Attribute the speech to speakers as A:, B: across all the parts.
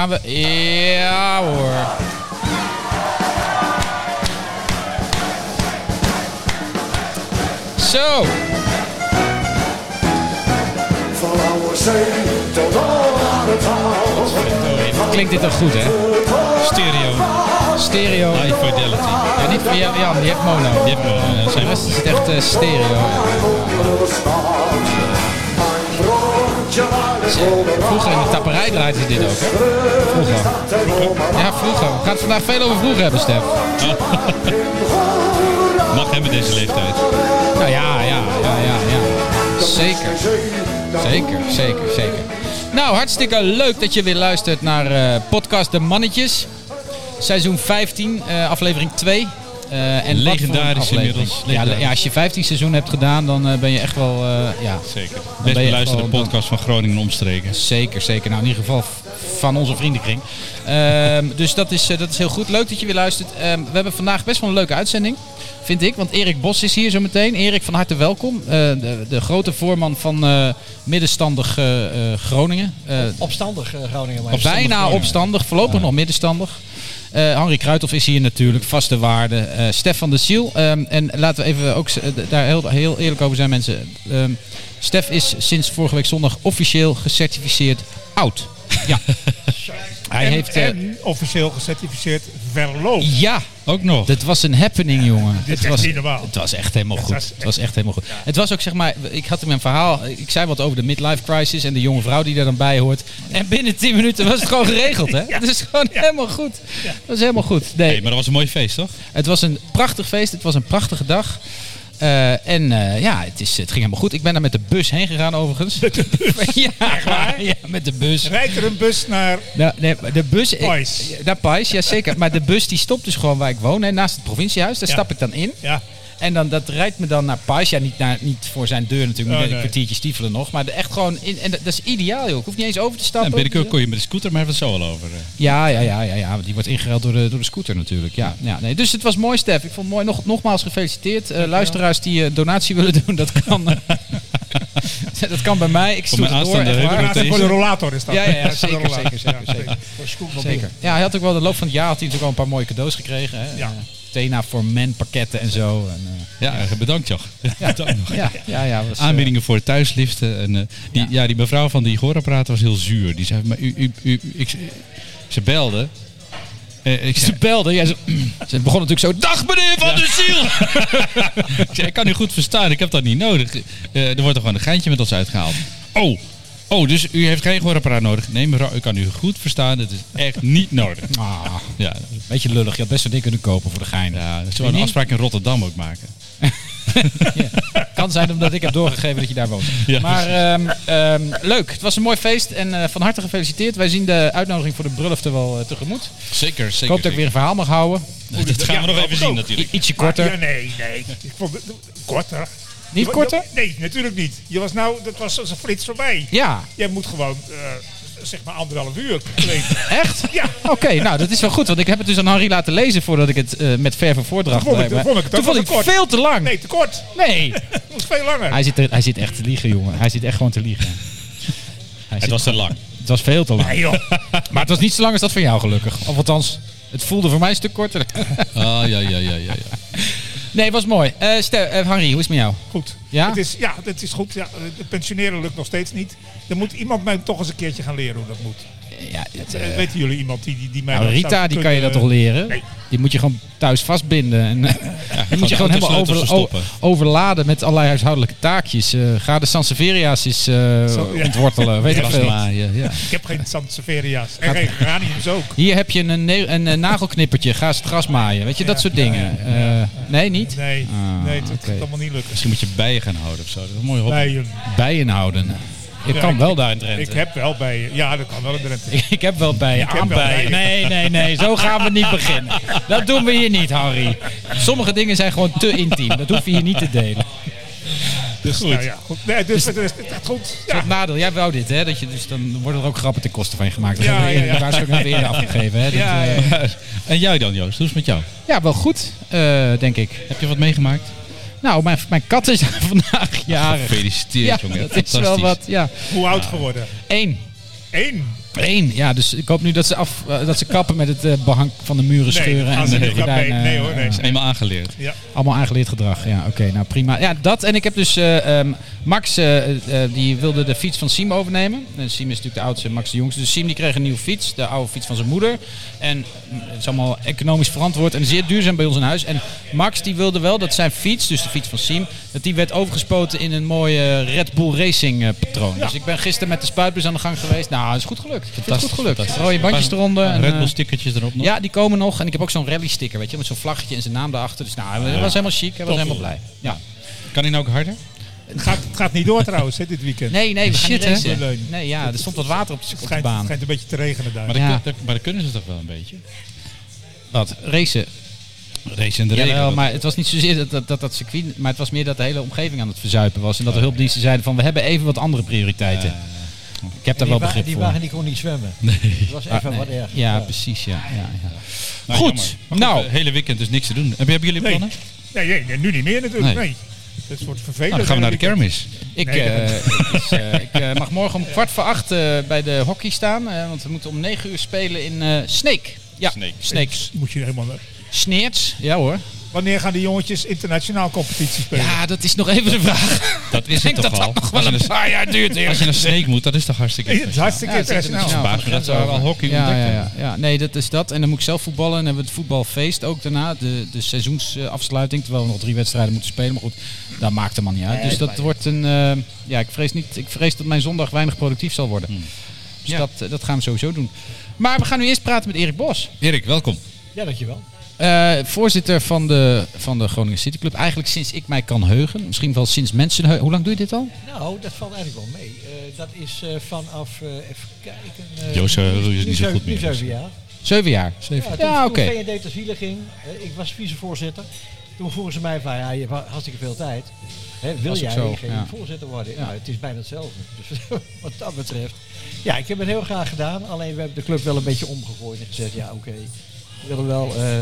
A: Gaan we... Ja hoor. Zo.
B: Van oude zee tot oude taal.
A: Klinkt dit toch goed, hè?
C: Stereo.
A: Stereo.
C: High fidelity.
A: Ja, niet van Jan, Jan, die heeft mono.
C: Die hebben we. eh,
A: De
C: zijn we.
A: rest is het echt eh, stereo. Vroeger in de tapperij draaiden ze dit ook, hè? Vroeger. Ja, vroeger. We gaan het vandaag veel over vroeger hebben, Stef.
C: Mag hebben deze leeftijd.
A: Nou ja, ja, ja, ja, ja. Zeker. Zeker, zeker, zeker. Nou, hartstikke leuk dat je weer luistert naar eh, podcast De Mannetjes. Seizoen 15, eh, aflevering 2. Eh, en wat voor een
C: Legendarisch
A: aflevering.
C: inmiddels,
A: Ja,
C: legendarisch.
A: le- Ja, als je 15 seizoen hebt gedaan, dan eh, ben je echt wel... eh, ja,
C: Zeker.
A: ben
C: Best
A: je
C: beluisterde
A: gewoon- eh,
C: podcast van Groningen en omstreken.
A: Zeker, zeker. Nou, in ieder geval v- van onze vriendenkring. Ehm, dus dat is, eh, dat is heel goed. Leuk dat je weer luistert. Ehm, we hebben vandaag best wel een leuke uitzending, vind ik. Want Erik Bos is hier zo meteen. Erik, van harte welkom. Eh, de, de grote voorman van eh, middenstandig eh, eh, Groningen. Eh,
D: Opstandig eh, Groningen. maar-
C: Opstandig
A: bijna
C: Groningen.
A: opstandig, voorlopig nog middenstandig. Eh Henri Kruithof is hier natuurlijk, vaste waarde. Eh, Stefan de Siel. Ehm, en laten we even ook z- eh, d- daar heel, heel eerlijk over zijn, mensen. Ehm, Stef is sinds vorige week zondag officieel gecertificeerd oud. Ja. Hij
E: en,
A: heeft. eh,
E: en officieel gecertificeerd verloofd.
A: ja,
C: Ook nog.
A: dit was een happening, jongen.
E: Dit
A: het
E: is
A: was,
E: niet normaal.
A: Het was echt helemaal
E: Het
A: goed.
E: was
A: Het was echt helemaal goed. Het was ook zeg maar, ik had in mijn verhaal, ik zei wat over de midlife crisis en de jonge vrouw die daar dan bij hoort. En binnen 10 minuten was het gewoon geregeld, hè? Het is gewoon helemaal goed. Het was helemaal goed. Nee,
C: Hey, maar dat was een mooi feest, toch?
A: het was een prachtig feest. Het was een prachtige dag. Eh, en eh, ja, het, is, het ging helemaal goed. Ik ben daar met de bus heen gegaan overigens. Met de bus? ja, ja, met de bus.
E: Rijdt er een bus naar...
A: Nou, nee, maar de bus... ik-
E: Pais.
A: Naar Pais, ja zeker. Maar de bus die stopt dus gewoon waar ik woon, hè, naast het provinciehuis. Daar
E: Ja.
A: stap ik dan in.
E: Ja,
A: En dan, dat rijdt me dan naar Pais. Ja, niet, naar, niet voor zijn deur natuurlijk.
E: Oh,
A: Moet Een
E: nee.
A: kwartiertje stiefelen nog. Maar de- echt gewoon... In, en dat, dat is ideaal, joh. Ik hoef niet eens over te
C: Ja,
A: stappen.
C: binnenkort kon je met de scooter, maar hebben we het zo al over. eh.
A: Ja, ja, ja, ja, ja. want Die wordt ingeruild door de, door de scooter natuurlijk. Ja, ja, nee. Dus het was mooi, Stef. Ik vond het mooi. Nog, nogmaals gefeliciteerd. Eh, luisteraars die eh, donatie willen doen, dat kan. eh, dat kan bij mij. Ik stoer
C: mijn
A: het door.
C: aanstaande
A: echt waar.
C: heuvelroute.
E: Donatie voor de rollator is dat.
A: Ja, ja, ja,
E: Dat is voor de
A: zeker,
E: rollator.
A: zeker, zeker,
E: Ja, Voor scootmobiel.
A: Zeker. Ja, hij had ook wel de loop van het jaar had hij natuurlijk al een paar mooie cadeaus gekregen. Hè?
E: Ja.
A: Eh, Tena voor men pakketten en zo. En, eh,
C: Ja, eh, bedankt Joch. Bedankt nog.
A: ja, ja, ja. was, eh,
C: Aanbiedingen voor thuisliften. En, eh, die,
A: Ja.
C: ja. die mevrouw van die gehoorapparaat was heel zuur. Die zei, maar u, u, u, ik, ze belde. Eh, ik zei,
A: ze belde. Ja, ze, ze begon natuurlijk zo. Dag meneer van der Ziel!
C: Ik zei, ik kan u goed verstaan, ik heb dat niet nodig. Eh, er wordt toch gewoon een geintje met ons uitgehaald. Oh, oh dus u heeft geen gehoorapparaat nodig. Nee, mevrouw, ik kan u goed verstaan, het is echt niet nodig.
A: Ah,
C: Ja,
A: beetje lullig. Je had best wel ding kunnen kopen voor de gein.
C: ja zullen we een afspraak in Rotterdam ook maken?
A: Ja. Kan zijn omdat ik heb doorgegeven dat je daar woont.
C: Ja,
A: maar ehm, ehm, leuk, het was een mooi feest en eh, van harte gefeliciteerd. Wij zien de uitnodiging voor de bruiloft er wel eh, tegemoet.
C: Zeker, zeker.
A: Ik hoop dat ik weer een verhaal mag houden.
C: Dat gaan we nog even zien
A: I-
C: natuurlijk.
A: ietsje
E: Maar-
A: korter.
E: Ja, nee, nee. Ik vond het korter.
A: Niet
E: Je-
A: korter?
E: Nee, natuurlijk niet. Je was nou, dat was als een flits voorbij.
A: Ja,
E: Jij moet gewoon, eh, zeg maar, anderhalf uur kleden.
A: echt?
E: Ja.
A: Oké, nou dat is wel goed, want ik heb het dus aan Henri laten lezen voordat ik het eh, met verve voordracht
E: Toen vond ik-
A: deed, maar
E: toen vond ik het
A: Toen
E: ook
A: vond
E: wel
A: ik
E: te kort.
A: veel te lang.
E: Nee, te kort.
A: Nee.
E: Het was veel langer.
A: Hij, zit er- hij zit echt te liegen, jongen. Hij zit echt gewoon te liegen. Hij
C: Het
A: zit-
C: was te lang.
A: het was veel te lang.
E: Nee, joh.
A: Maar het was niet zo lang als dat van jou, gelukkig. Of althans, het voelde voor mij een stuk korter.
C: Ah, ja, ja, ja, ja. ja.
A: Nee, het was mooi. Eh Stel, eh, Henri, hoe is het met jou?
E: Goed.
A: Ja?
E: Het is, ja, het is goed. Ja, het pensioneren lukt nog steeds niet. Dan moet iemand mij toch eens een keertje gaan leren hoe dat moet.
A: Ja, het, eh,
E: Eh, Weten jullie iemand die, die, die mij
A: nou,
E: dat zou
A: Rita, die kan je dat
E: kunnen-
A: toch leren?
E: Nee.
A: Die moet je gewoon thuis vastbinden. En, die moet je
C: de
A: gewoon helemaal
C: autosleutels
A: over- o-
C: verstoppen.
A: overladen met allerlei huishoudelijke taakjes. Eh, ga de Sanseveria's eens eh,
E: Zo, ja.
A: ontwortelen. Weet ik
C: was
A: veel.
C: maaien, ja.
E: Ik heb geen Sanseveria's. En geen geraniums ook.
A: Hier heb je een, ne- een, eh, nagelknippertje. Ga eens het gras maaien. Weet je, dat soort dingen. Eh, nee, niet?
E: Nee,
A: Ah,
E: nee dat
A: oké.
E: gaat allemaal niet lukken.
C: Misschien moet je bijen gaan houden of zo. Dat is een mooie hobby.
E: Nee, joh.
A: Bijen houden. Ik
E: Ja,
A: kan
E: ik-
A: wel daar in Drenthe.
E: ik heb wel bij Ja, dat kan wel in Drenthe.
A: Ik, ik heb wel bijen,
E: heb
A: aan
E: wel
A: bijen.
E: bijen.
A: Nee, nee, nee. Zo gaan we niet beginnen. Dat doen we hier niet, Harry. Sommige dingen zijn gewoon te intiem. Dat hoef je hier niet te delen.
E: Dus, goed. Nou, ja, goed. Nee, dus het is het gaat goed. Ja.
A: Het nadeel, jij wou dit, hè? Dat je, dus dan worden er ook grappen ten koste van je gemaakt. Dat
E: Ja,
A: hebben we
E: ja,
A: eerder- die
E: ja.
A: waarschuwing hebben we eerder afgegeven, hè? Dat,
E: Ja,
A: eh,
E: ja.
C: En jij dan, Joost? Hoe is het met jou?
A: ja, wel goed, eh, denk ik.
C: Heb je wat meegemaakt?
A: Nou, mijn, mijn kat is vandaag jarig.
C: Gefeliciteerd,
A: Ja,
C: jongen.
A: dat is wel
C: Fantastisch.
A: wat. Ja.
E: Hoe oud geworden?
A: Eén.
E: Eén.
A: Eén, ja, dus ik hoop nu dat ze, af, eh, dat ze kappen met het eh, behang van de muren scheuren.
E: gaan
A: en
E: ze
A: de
E: niet kappen.
A: gordijnen,
E: Nee hoor, nee.
A: eh,
C: is eenmaal aangeleerd.
E: Ja.
A: Allemaal aangeleerd gedrag. Ja, oké. nou, prima. Ja, dat. En ik heb dus eh, ehm, Max, eh, eh, die wilde de fiets van Siem overnemen. En Siem is natuurlijk de oudste, Max de jongste. Dus Siem die kreeg een nieuwe fiets. De oude fiets van zijn moeder. En mm, het is allemaal economisch verantwoord en zeer duurzaam bij ons in huis. En Max die wilde wel dat zijn fiets, dus de fiets van Siem, dat die werd overgespoten in een mooie Red Bull Racing eh, patroon. Dus ik ben gisteren met de spuitbus aan de gang geweest. Nou, het is goed gelukt. Het is goed gelukt. Rode bandjes eronder. en,
C: Red Bull
A: eh,
C: stickertjes erop nog.
A: ja, die komen nog. En ik heb ook zo'n rally sticker, weet je, met zo'n vlaggetje en zijn naam daarachter. Dus nou, hij was helemaal chic, hij was helemaal blij. Ja.
C: Kan hij nou ook harder?
E: Het, gaat, het gaat niet door trouwens, hè, dit weekend.
A: Nee, nee, we gaan
C: Shit,
A: niet racen.
E: hè?
A: Nee, ja, er stond wat water op de,
E: Het
A: op de
E: schijnt, het
A: baan.
E: schijnt een beetje te regenen daar.
C: Maar,
A: Ja.
C: dat, kun- dat- maar dat kunnen ze toch wel een beetje?
A: Wat? Racen.
C: Race in de regen.
A: Jawel, maar het was niet zozeer dat dat, dat dat circuit, maar het was meer dat de hele omgeving aan het verzuipen was. En dat de hulpdiensten zeiden van, we hebben even wat andere prioriteiten. ik heb daar
D: die,
A: wel
D: wa-
A: begrip
D: die
A: voor.
D: wagen die kon niet zwemmen. Dat was even
A: Ah, nee.
D: wat eh, erg.
A: Ja, precies, ja. ja, ja.
C: Nou,
A: Goed,
C: jammer. Maar
A: nou.
C: Het hele weekend dus niks te doen. Heb- Hebben jullie
E: nee.
C: plannen?
E: Nee, nee, nee, nu niet meer natuurlijk.
C: Nee.
E: Nee. Dat wordt vervelend.
C: Nou, dan gaan we naar de
E: Weekend.
C: kermis.
A: Ik,
E: Nee,
A: eh,
E: dat-
A: het is, eh, ik eh, mag morgen om kwart voor acht eh, bij de hockey staan. eh, want we moeten om negen uur spelen in eh Snake. Ja,
C: Snake.
A: Snake. Snake.
E: Moet je helemaal naar-
A: Sneerts. Ja hoor.
E: Wanneer gaan die jongetjes internationaal competitie spelen?
A: Ja, dat is nog even de vraag.
C: Dat is
A: Ik denk
C: het toch
A: dat
C: al.
A: dat nog wel
C: Als je
A: een paar jaar duurt.
C: Als je naar Sneek moet, dat is toch hartstikke
E: Het is hartstikke
A: Ja, het is
E: internationaal.
A: internationaal.
C: verbaasd me dat ze al hockey
A: Ja,
C: ontdekt
A: ja, ja,
C: hebben.
A: ja, nee, dat is dat. En dan moet ik zelf voetballen. En dan hebben we het voetbalfeest ook daarna. De, de seizoensafsluiting. Terwijl we nog drie wedstrijden moeten spelen. Maar goed, dat maakt helemaal niet uit. Dus dat wordt een... eh, ja, ik vrees, niet, ik vrees dat mijn zondag weinig productief zal worden. Dus
C: Hmm. Ja.
A: dat, eh, dat gaan we sowieso doen. Maar we gaan nu eerst praten met Erik Bos.
C: Erik, welkom.
D: Ja, dankjewel.
A: Eh, voorzitter van de, van de Groningen City Club. Eigenlijk sinds ik mij kan heugen. Misschien wel sinds mensen... heu- Hoe lang doe je dit al?
D: Nou, dat valt eigenlijk wel mee. Eh, dat is eh, vanaf, eh, even kijken... eh,
C: Joost, eh, Roel is
D: nu
C: niet zo
D: zeven-
C: goed meer. dus, eh.
D: Nu zeven jaar.
A: Zeven jaar.
D: Ja, toen,
A: Ja,
D: toen
A: oké.
D: VND ter ziele ging, eh, ik was vicevoorzitter. Toen vroegen ze mij van, ja, je hebt hartstikke veel tijd. Hè, wil
A: Was ook
D: jij
A: zo,
D: geen
A: ja.
D: voorzitter worden?
A: Ja.
D: Nou, het is bijna hetzelfde. Dus wat dat betreft. Ja, ik heb het heel graag gedaan. Alleen we hebben de club wel een beetje omgegooid en gezegd, ja oké. we willen wel eh,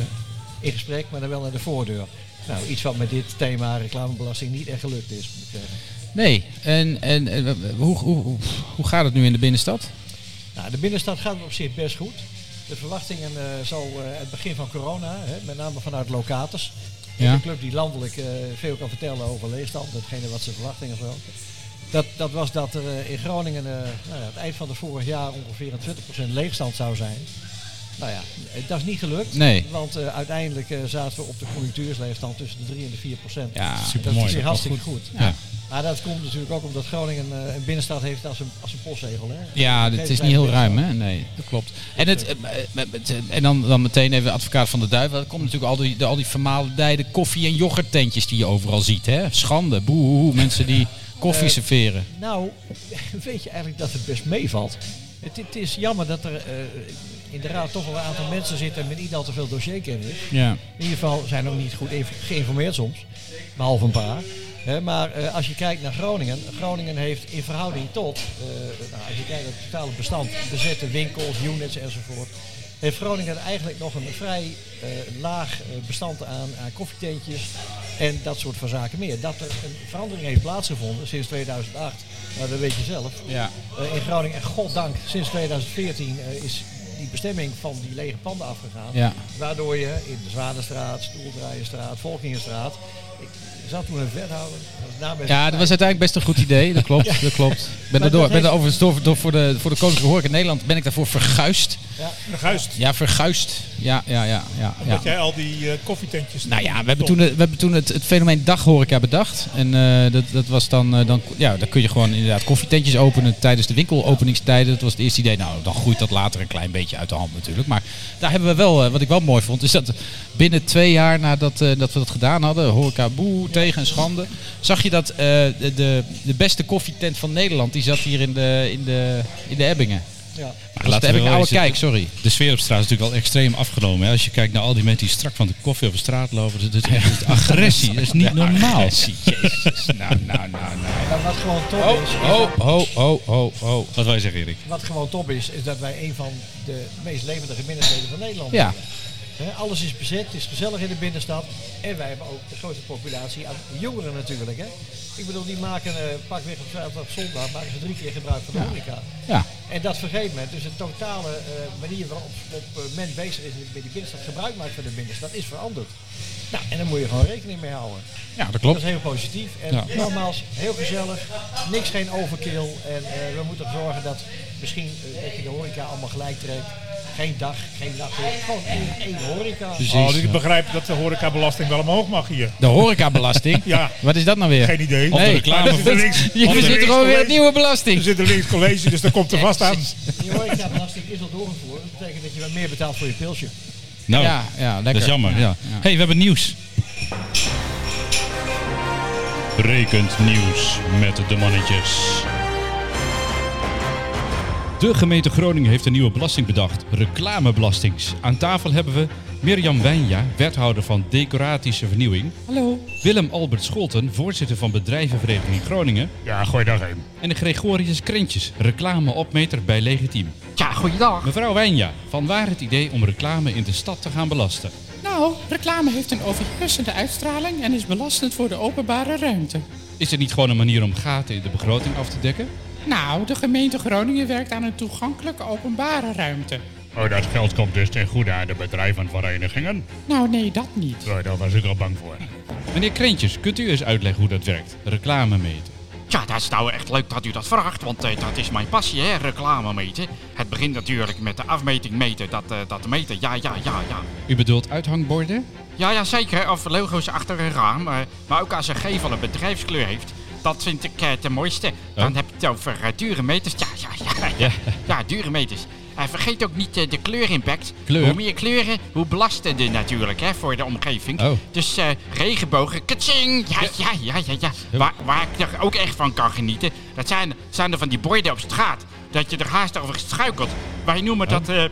D: in gesprek, maar dan wel naar de voordeur. Nou, iets wat met dit thema reclamebelasting niet echt gelukt is. Moet ik zeggen.
A: Nee. En, en, en, eh, hoe, hoe, hoe- hoe gaat het nu in de binnenstad?
D: Nou, de binnenstad gaat op zich best goed. De verwachtingen eh zo eh, het begin van corona, hè, met name vanuit locators.
A: Ja.
D: Ja. Een club die landelijk eh, veel kan vertellen over leegstand, datgene wat ze verwachten en zo. Dat, dat was dat er eh, in Groningen eh, nou ja, het eind van het vorig jaar ongeveer een 20% leegstand zou zijn. Nou ja, eh, dat is niet gelukt.
A: Nee.
D: Want eh, uiteindelijk eh, zaten we op de conjunctuursleefstand tussen de 3 en de 4 procent.
A: Ja,
D: dat is
C: supermooi,
D: op
C: dat
D: zich
C: is
D: hartstikke goed.
C: Ja.
D: Maar dat komt natuurlijk ook omdat Groningen eh, een binnenstad heeft als een, als een postzegel. Hè?
A: Ja,
D: Geen
A: het is niet
D: kleine
A: heel
D: binnenstad.
A: ruim, hè? Nee, dat klopt. En, het, eh, eh, eh, en dan, dan meteen even advocaat van de duivel. Dat komt natuurlijk al die, de, al die vermaledeide koffie- en yoghurttentjes die je overal ziet, hè? Schande, boehoe, mensen die koffie
D: Eh,
A: serveren.
D: Nou, weet je eigenlijk dat het best meevalt. Het, het is jammer dat er eh, in de raad toch wel een aantal mensen zitten met niet al te veel dossierkennis.
A: Ja.
D: In ieder geval zijn ook niet goed even geïnformeerd soms, behalve een paar. Hè, maar eh, als je kijkt naar Groningen, Groningen heeft in verhouding tot, eh, nou, als je kijkt naar het totale bestand, bezette winkels, units enzovoort, heeft Groningen eigenlijk nog een vrij eh, laag eh, bestand aan, aan koffietentjes en dat soort van zaken meer. Dat er een verandering heeft plaatsgevonden sinds 2008, nou, dat weet je zelf.
A: Ja.
D: Eh, in Groningen, en goddank, sinds 2014 eh, is die bestemming van die lege panden afgegaan.
A: Ja.
D: Waardoor je in de Zwanestraat, Stoeldraaienstraat, Volkingenstraat. Ik zat toen een wethouder. dat is namens-
A: Ja, dat was uiteindelijk best een goed idee. Dat klopt, dat klopt. Ik Ben
D: dat
A: daardoor, ben
D: heeft-
A: daar overigens door, door voor de, voor de Koninklijke Horeca in Nederland ben ik daarvoor verguist.
E: Naar Guist.
A: Ja, verguist. Ja, ja, ja, ja. ja.
E: Nou, Dat jij al die eh, koffietentjes...
A: Nou ja, we hebben toen, we hebben toen het, het fenomeen daghoreca bedacht. En eh, dat, dat was dan, eh, dan, ja, dan kun je gewoon inderdaad koffietentjes openen tijdens de winkelopeningstijden. Dat was het eerste idee. Nou, dan groeit dat later een klein beetje uit de hand natuurlijk. Maar daar hebben we wel, eh, wat ik wel mooi vond, is dat binnen twee jaar nadat eh, dat we dat gedaan hadden, horeca boe, tegen en schande, zag je dat eh, de, de, de beste koffietent van Nederland, die zat hier in de, in de, in de Ebbingen.
D: Ja.
A: Dat was de
C: laten we
A: Ebbingen
C: wel
A: oude
C: eens-
A: kijk, sorry.
C: De sfeer op straat is natuurlijk wel extreem afgenomen. Hè? Als je kijkt naar al die mensen die strak van de koffie op de straat lopen. Dat is echt agressie. Dat is niet normaal. Jezus. Nou, nou, nou, nou.
D: Maar wat gewoon top is. is
A: Oh, oh, oh, oh, oh.
C: Wat wij zeggen, Erik.
D: Wat gewoon top is, is dat wij een van de meest levendige binnensteden van Nederland
A: Ja.
D: hebben. Hè, alles is bezet, het is gezellig in de binnenstad. En wij hebben ook de grootste populatie aan jongeren natuurlijk. Hè? Ik bedoel, die maken eh pakweg op, zaterdag, op zondag maken ze drie keer gebruik van de
A: Ja.
D: horeca.
A: Ja.
D: En dat vergeet men. Dus de totale eh, manier waarop op, eh, men bezig is met de binnenstad, gebruik maakt van de binnenstad, is veranderd. Nou, en daar moet je gewoon rekening mee houden.
C: Ja, dat
D: Dat is heel positief. En
C: Ja.
D: nogmaals, heel gezellig. Niks geen overkill. En eh, we moeten ervoor zorgen dat misschien eh, dat je de horeca allemaal gelijk trekt. Geen dag, geen nacht. Gewoon één, één horeca.
E: Oh,
C: Precies.
E: dus ik begrijp dat de horecabelasting wel omhoog mag hier.
A: De horecabelasting?
E: Ja.
A: Wat is dat nou weer?
E: Geen idee.
C: Of de reclame.
E: Maar dat is er niks.
A: Je
E: Of er
A: verzint
E: niks
A: gewoon weer
E: college.
A: het nieuwe
E: Er
A: belasting.
E: zit een links college, dus dat komt er vast aan.
D: Die horecabelasting is al doorgevoerd. Dat betekent dat je wat meer betaalt voor je pilsje.
C: Nou,
A: Ja, ja, lekker.
C: dat is jammer. Ja. hey, we hebben nieuws. Rekent nieuws met de mannetjes. De gemeente Groningen heeft een nieuwe belasting bedacht. Reclamebelastings. Aan tafel hebben we Mirjam Wijnja, wethouder van Decoratische Vernieuwing. Hallo. Willem Albert Scholten, voorzitter van Bedrijvenvereniging Groningen.
E: Ja, gooi daar heen.
C: En de Gregorius Krentjes, reclameopmeter bij Legitiem.
F: Ja, goeiedag.
C: Mevrouw Wijnja, van waar het idee om reclame in de stad te gaan belasten?
F: Nou, reclame heeft een overheersende uitstraling en is belastend voor de openbare ruimte.
C: Is dit niet gewoon een manier om gaten in de begroting af te dekken?
F: Nou, de gemeente Groningen werkt aan een toegankelijke openbare ruimte.
G: Oh, dat geld komt dus ten goede aan de bedrijvenverenigingen.
F: Nou, nee, dat niet.
G: Oh, daar was ik al bang voor.
C: Meneer Krentjes, kunt u eens uitleggen hoe dat werkt? Reclame meten.
H: Ja, dat is nou echt leuk dat u dat vraagt, want eh, dat is mijn passie, hè, reclame meten. Het begint natuurlijk met de afmeting meten, dat, eh, dat meten, ja, ja, ja, ja.
C: U bedoelt uithangborden?
H: Ja, ja, zeker, of logo's achter een raam, eh, maar ook als een gevel een bedrijfskleur heeft. Dat vind ik eh, de mooiste. Dan
C: Oh.
H: heb je het over eh, dure meters. Ja, ja, ja. Ja,
C: Ja.
H: Ja, dure meters. En vergeet ook niet eh, de kleurimpact.
C: Kleur?
H: Hoe meer kleuren, hoe belastender natuurlijk hè, voor de omgeving.
C: Oh.
H: Dus eh, regenbogen, katsing! Ja, ja, ja, ja, ja. Waar, waar ik er ook echt van kan genieten, dat zijn, zijn er van die borden op straat. Dat je er haast over struikelt. Wij noemen dat eh,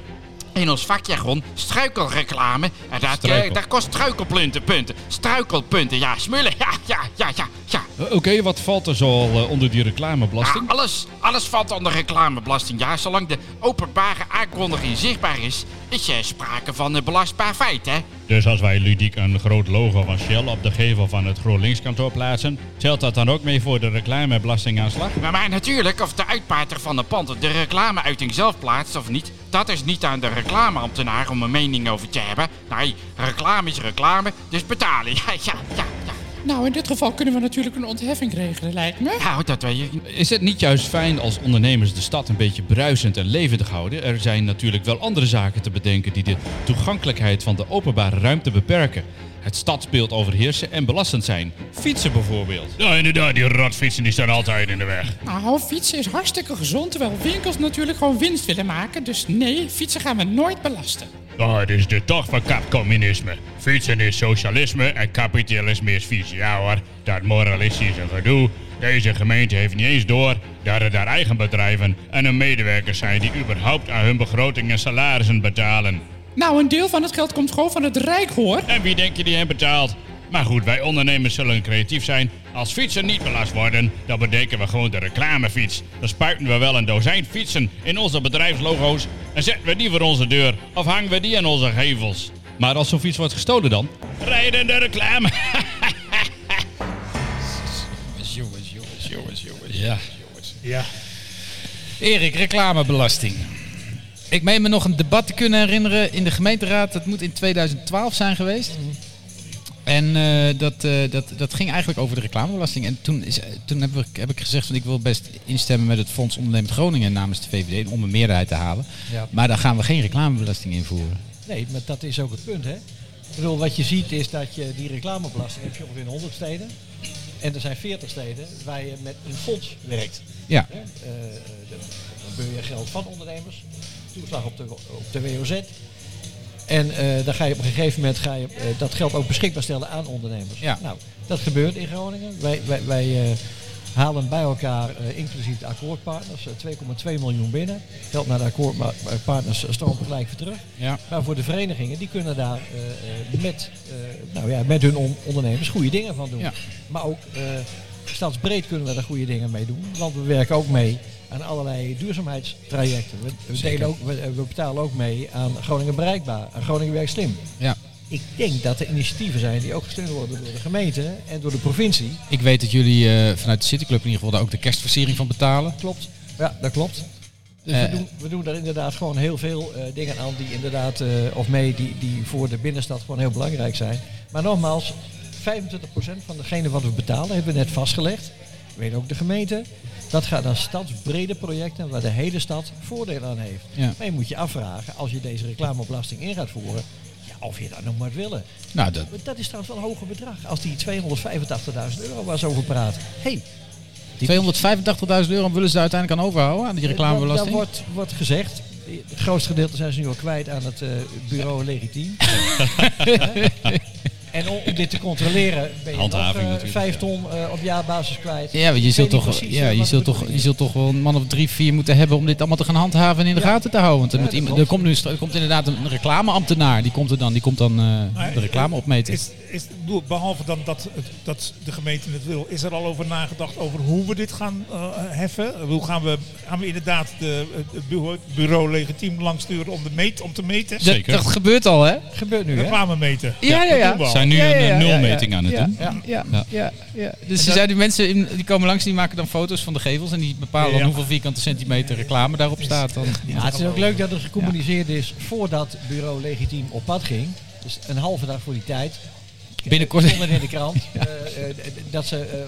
H: in ons vakjargon struikelreclame. En dat, eh,
C: Struikel.
H: dat kost struikelpunten, punten. Struikelpunten, ja, smullen. Ja, ja, ja, ja, ja.
C: Eh, Oké, wat valt er zo al eh, onder die
H: Ja,
C: reclamebelasting?
H: alles, alles valt onder reclamebelasting. Ja, zolang de openbare aankondiging zichtbaar is, is er sprake van een belastbaar feit, hè?
G: Dus als wij ludiek een groot logo van Shell op de gevel van het GroenLinks-kantoor plaatsen, telt dat dan ook mee voor de reclamebelastingaanslag?
H: Maar, maar natuurlijk, of de uitbater van de pand de reclameuiting zelf plaatst of niet, dat is niet aan de reclameambtenaar om een mening over te hebben. Nee, reclame is reclame, dus betalen. Ja, ja, ja, ja.
F: Nou, in dit geval kunnen we natuurlijk een ontheffing regelen, lijkt me.
H: Nou, dat weet je.
C: Is het niet juist fijn als ondernemers de stad een beetje bruisend en levendig houden? Er zijn natuurlijk wel andere zaken te bedenken die de toegankelijkheid van de openbare ruimte beperken. Het stadsbeeld overheersen en belastend zijn. Fietsen bijvoorbeeld.
G: Ja, inderdaad, die rotfietsen die staan altijd in de weg.
F: Nou, fietsen is hartstikke gezond, terwijl winkels natuurlijk gewoon winst willen maken. Dus nee, fietsen gaan we nooit belasten.
G: Oh, het is de dag van kapcommunisme. Fietsen is socialisme en kapitalisme is vies. Ja hoor, dat moralistische gedoe. Deze gemeente heeft niet eens door dat het haar eigen bedrijven en hun medewerkers zijn die überhaupt aan hun begroting en salarissen betalen.
F: Nou, een deel van het geld komt gewoon van het Rijk, hoor.
G: En wie denk je die hem betaalt? Maar goed, wij ondernemers zullen creatief zijn. Als fietsen niet belast worden, dan bedenken we gewoon de reclamefiets. Dan spuiten we wel een dozijn fietsen in onze bedrijfslogo's en zetten we die voor onze deur of hangen we die aan onze gevels.
C: Maar als zo'n fiets wordt gestolen dan?
G: Rijdende reclame.
A: Ja.
E: Ja.
A: Erik, reclamebelasting. Ik meen me nog een debat te kunnen herinneren in de gemeenteraad. Dat moet in 2012 zijn geweest.
D: Mhm.
A: En eh, dat, eh, dat, dat ging eigenlijk over de reclamebelasting. En toen, is, eh, toen heb, ik, heb ik gezegd, van, ik wil best instemmen met het Fonds Ondernemend Groningen namens de VVD om een meerderheid te halen.
D: Ja.
A: Maar dan gaan we geen reclamebelasting invoeren.
D: Nee, maar dat is ook het punt, hè? Ik bedoel, wat je ziet is dat je die reclamebelasting heb je ongeveer in 100 steden. En er zijn 40 steden waar je met een fonds werkt.
A: Ja,
D: Hè? Eh, eh, dan beur je geld van ondernemers, toeslag op de, op de WOZ. En eh, dan ga je op een gegeven moment ga je, eh, dat geld ook beschikbaar stellen aan ondernemers.
A: Ja.
D: Nou, dat gebeurt in Groningen. Wij, wij, wij eh, halen bij elkaar, eh, inclusief de akkoordpartners, eh, 2,2 miljoen binnen. Geld naar de akkoordpartners eh, stroomt gelijk weer terug.
A: ja.
D: Maar voor de verenigingen, die kunnen daar eh, eh, met, eh, nou ja, met hun on- ondernemers goede dingen van doen.
A: Ja.
D: Maar ook eh, stadsbreed kunnen we daar goede dingen mee doen. Want we werken ook mee aan allerlei duurzaamheidstrajecten. We, we delen ook, we, we betalen ook mee aan Groningen Bereikbaar, aan Groningen Werk Slim.
A: Ja.
D: Ik denk dat er initiatieven zijn die ook gesteund worden door de gemeente en door de provincie.
A: Ik weet dat jullie eh, vanuit de Cityclub in ieder geval daar ook de kerstversiering van betalen. Eh,
D: Klopt. Ja, dat klopt. Dus we, doen, we doen daar inderdaad gewoon heel veel eh, dingen aan die inderdaad, eh, of mee, die, die voor de binnenstad gewoon heel belangrijk zijn. Maar nogmaals, 25% van degene wat we betalen, hebben we net vastgelegd. Weet ook de gemeente. Dat gaat naar stadsbrede projecten waar de hele stad voordeel aan heeft.
A: Ja.
D: Maar je moet je afvragen, als je deze reclamebelasting in gaat voeren, ja, of je dat nog maar willen.
A: Nou, dat,
D: Maar dat is trouwens wel een hoger bedrag. Als die 285.000 euro waar ze over praat. Hey,
A: 285.000 euro willen ze daar uiteindelijk aan overhouden, aan die reclamebelasting.
D: Dat wordt, wordt gezegd. Het grootste gedeelte zijn ze nu al kwijt aan het eh, bureau legitiem. en om, om dit te controleren ben je
C: Handhaving
D: nog, eh,
C: natuurlijk,
D: vijf ton eh, op jaarbasis kwijt.
A: Ja, want je
D: Ik
A: zult,
D: weet niet
A: toch,
D: precies,
A: ja,
D: eh,
A: je,
D: wat de
A: zult toch, je
D: bedoeling is.
A: zult toch wel een man of drie, vier moeten hebben om dit allemaal te gaan handhaven en in de
D: Ja.
A: gaten te houden. Want er,
D: Ja,
A: moet
D: dat
A: iemand, er, komt
D: klopt.
A: nu, stra- er komt inderdaad een reclameambtenaar, die komt er dan, die komt dan eh,
E: Maar
A: de reclame opmeten.
E: Is, is, ik bedoel, behalve dan dat, het- dat de gemeente het wil, is er al over nagedacht over hoe we dit gaan eh, heffen? Hoe gaan we, gaan we inderdaad de, het bureau, bureau legitiem langsturen om, de meet, om te meten?
A: dat,
C: Zeker.
A: dat gebeurt al, hè?
D: Gebeurt nu, hè?
E: Reclame meten.
A: Ja, ja, ja.
E: doen we al.
C: Zijn nu
A: Ja, ja,
C: een eh,
A: ja,
C: nulmeting aan het
A: ja,
C: doen.
A: Ja, ja, ja,
C: Ja.
A: ja. Dus er zijn die mensen in, die komen langs, die maken dan foto's van de gevels en die bepalen dan
E: Ja.
A: hoeveel vierkante centimeter reclame daarop staat. Dan.
D: Ja, het is ook leuk dat het gecommuniceerd is voordat bureau legitiem op pad ging. Dus een halve dag voor die tijd.
A: Binnenkort.
D: Stond het in de krant eh, eh, d- d- dat, ze, eh,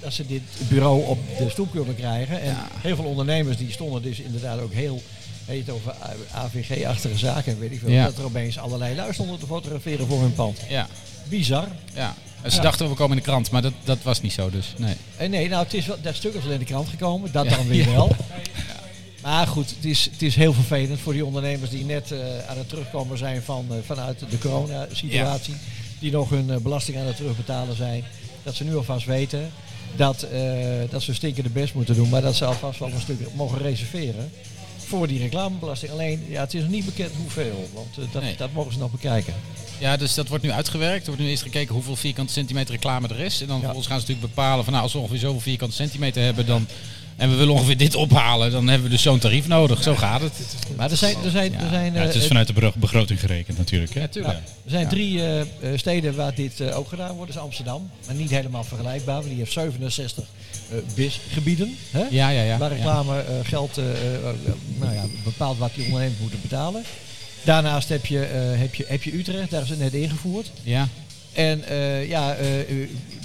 D: dat ze dit bureau op de stoep wilden krijgen. En heel veel ondernemers die stonden dus inderdaad ook heel heet het over eh, A- AVG-achtige zaken en weet ik veel.
A: Ja.
D: Dat er opeens allerlei lui stonden te fotograferen voor hun pand.
A: Ja,
D: Bizar.
A: ja. Ze
D: Ja.
A: dachten we komen in de krant, maar dat, dat was niet zo dus. Nee.
D: En nee, nou het is wel, dat stuk is wel in de krant gekomen. Dat
A: Ja.
D: dan weer
A: Ja.
D: wel. Maar goed, het is, het is heel vervelend voor die ondernemers die net eh, aan het terugkomen zijn van, eh, vanuit de coronasituatie. Die nog hun eh, belasting aan het terugbetalen zijn. Dat ze nu alvast weten dat, eh, dat ze stinkende best moeten doen. Maar dat ze alvast wel een stuk mogen reserveren voor die reclamebelasting. Alleen, ja, het is nog niet bekend hoeveel. Want eh, dat,
A: Nee.
D: dat mogen ze nog bekijken.
A: Ja, dus dat wordt nu uitgewerkt. Er wordt nu eerst gekeken hoeveel vierkante centimeter reclame er is. En dan vervolgens gaan ze natuurlijk bepalen van nou, als we ongeveer zoveel vierkante centimeter hebben dan, en we willen ongeveer dit ophalen, dan hebben we dus zo'n tarief nodig. Zo gaat het.
D: Maar er zijn, er zijn, er zijn
C: Ja, het
D: eh,
C: is vanuit de bero- begroting gerekend natuurlijk. Hè?
A: tuurlijk. Ja.
D: Er zijn drie eh, eh, steden waar dit eh, ook gedaan wordt. is Amsterdam, maar niet helemaal vergelijkbaar. Want die heeft 67 eh, BIS-gebieden. Hè?
A: Ja, ja, ja.
D: Waar reclame eh, geld eh, eh, eh, nou ja, bepaalt wat die ondernemers moeten betalen. Daarnaast heb je, eh, heb, je, heb je Utrecht, daar is het net ingevoerd.
A: Ja.
D: En eh, ja, eh, eh,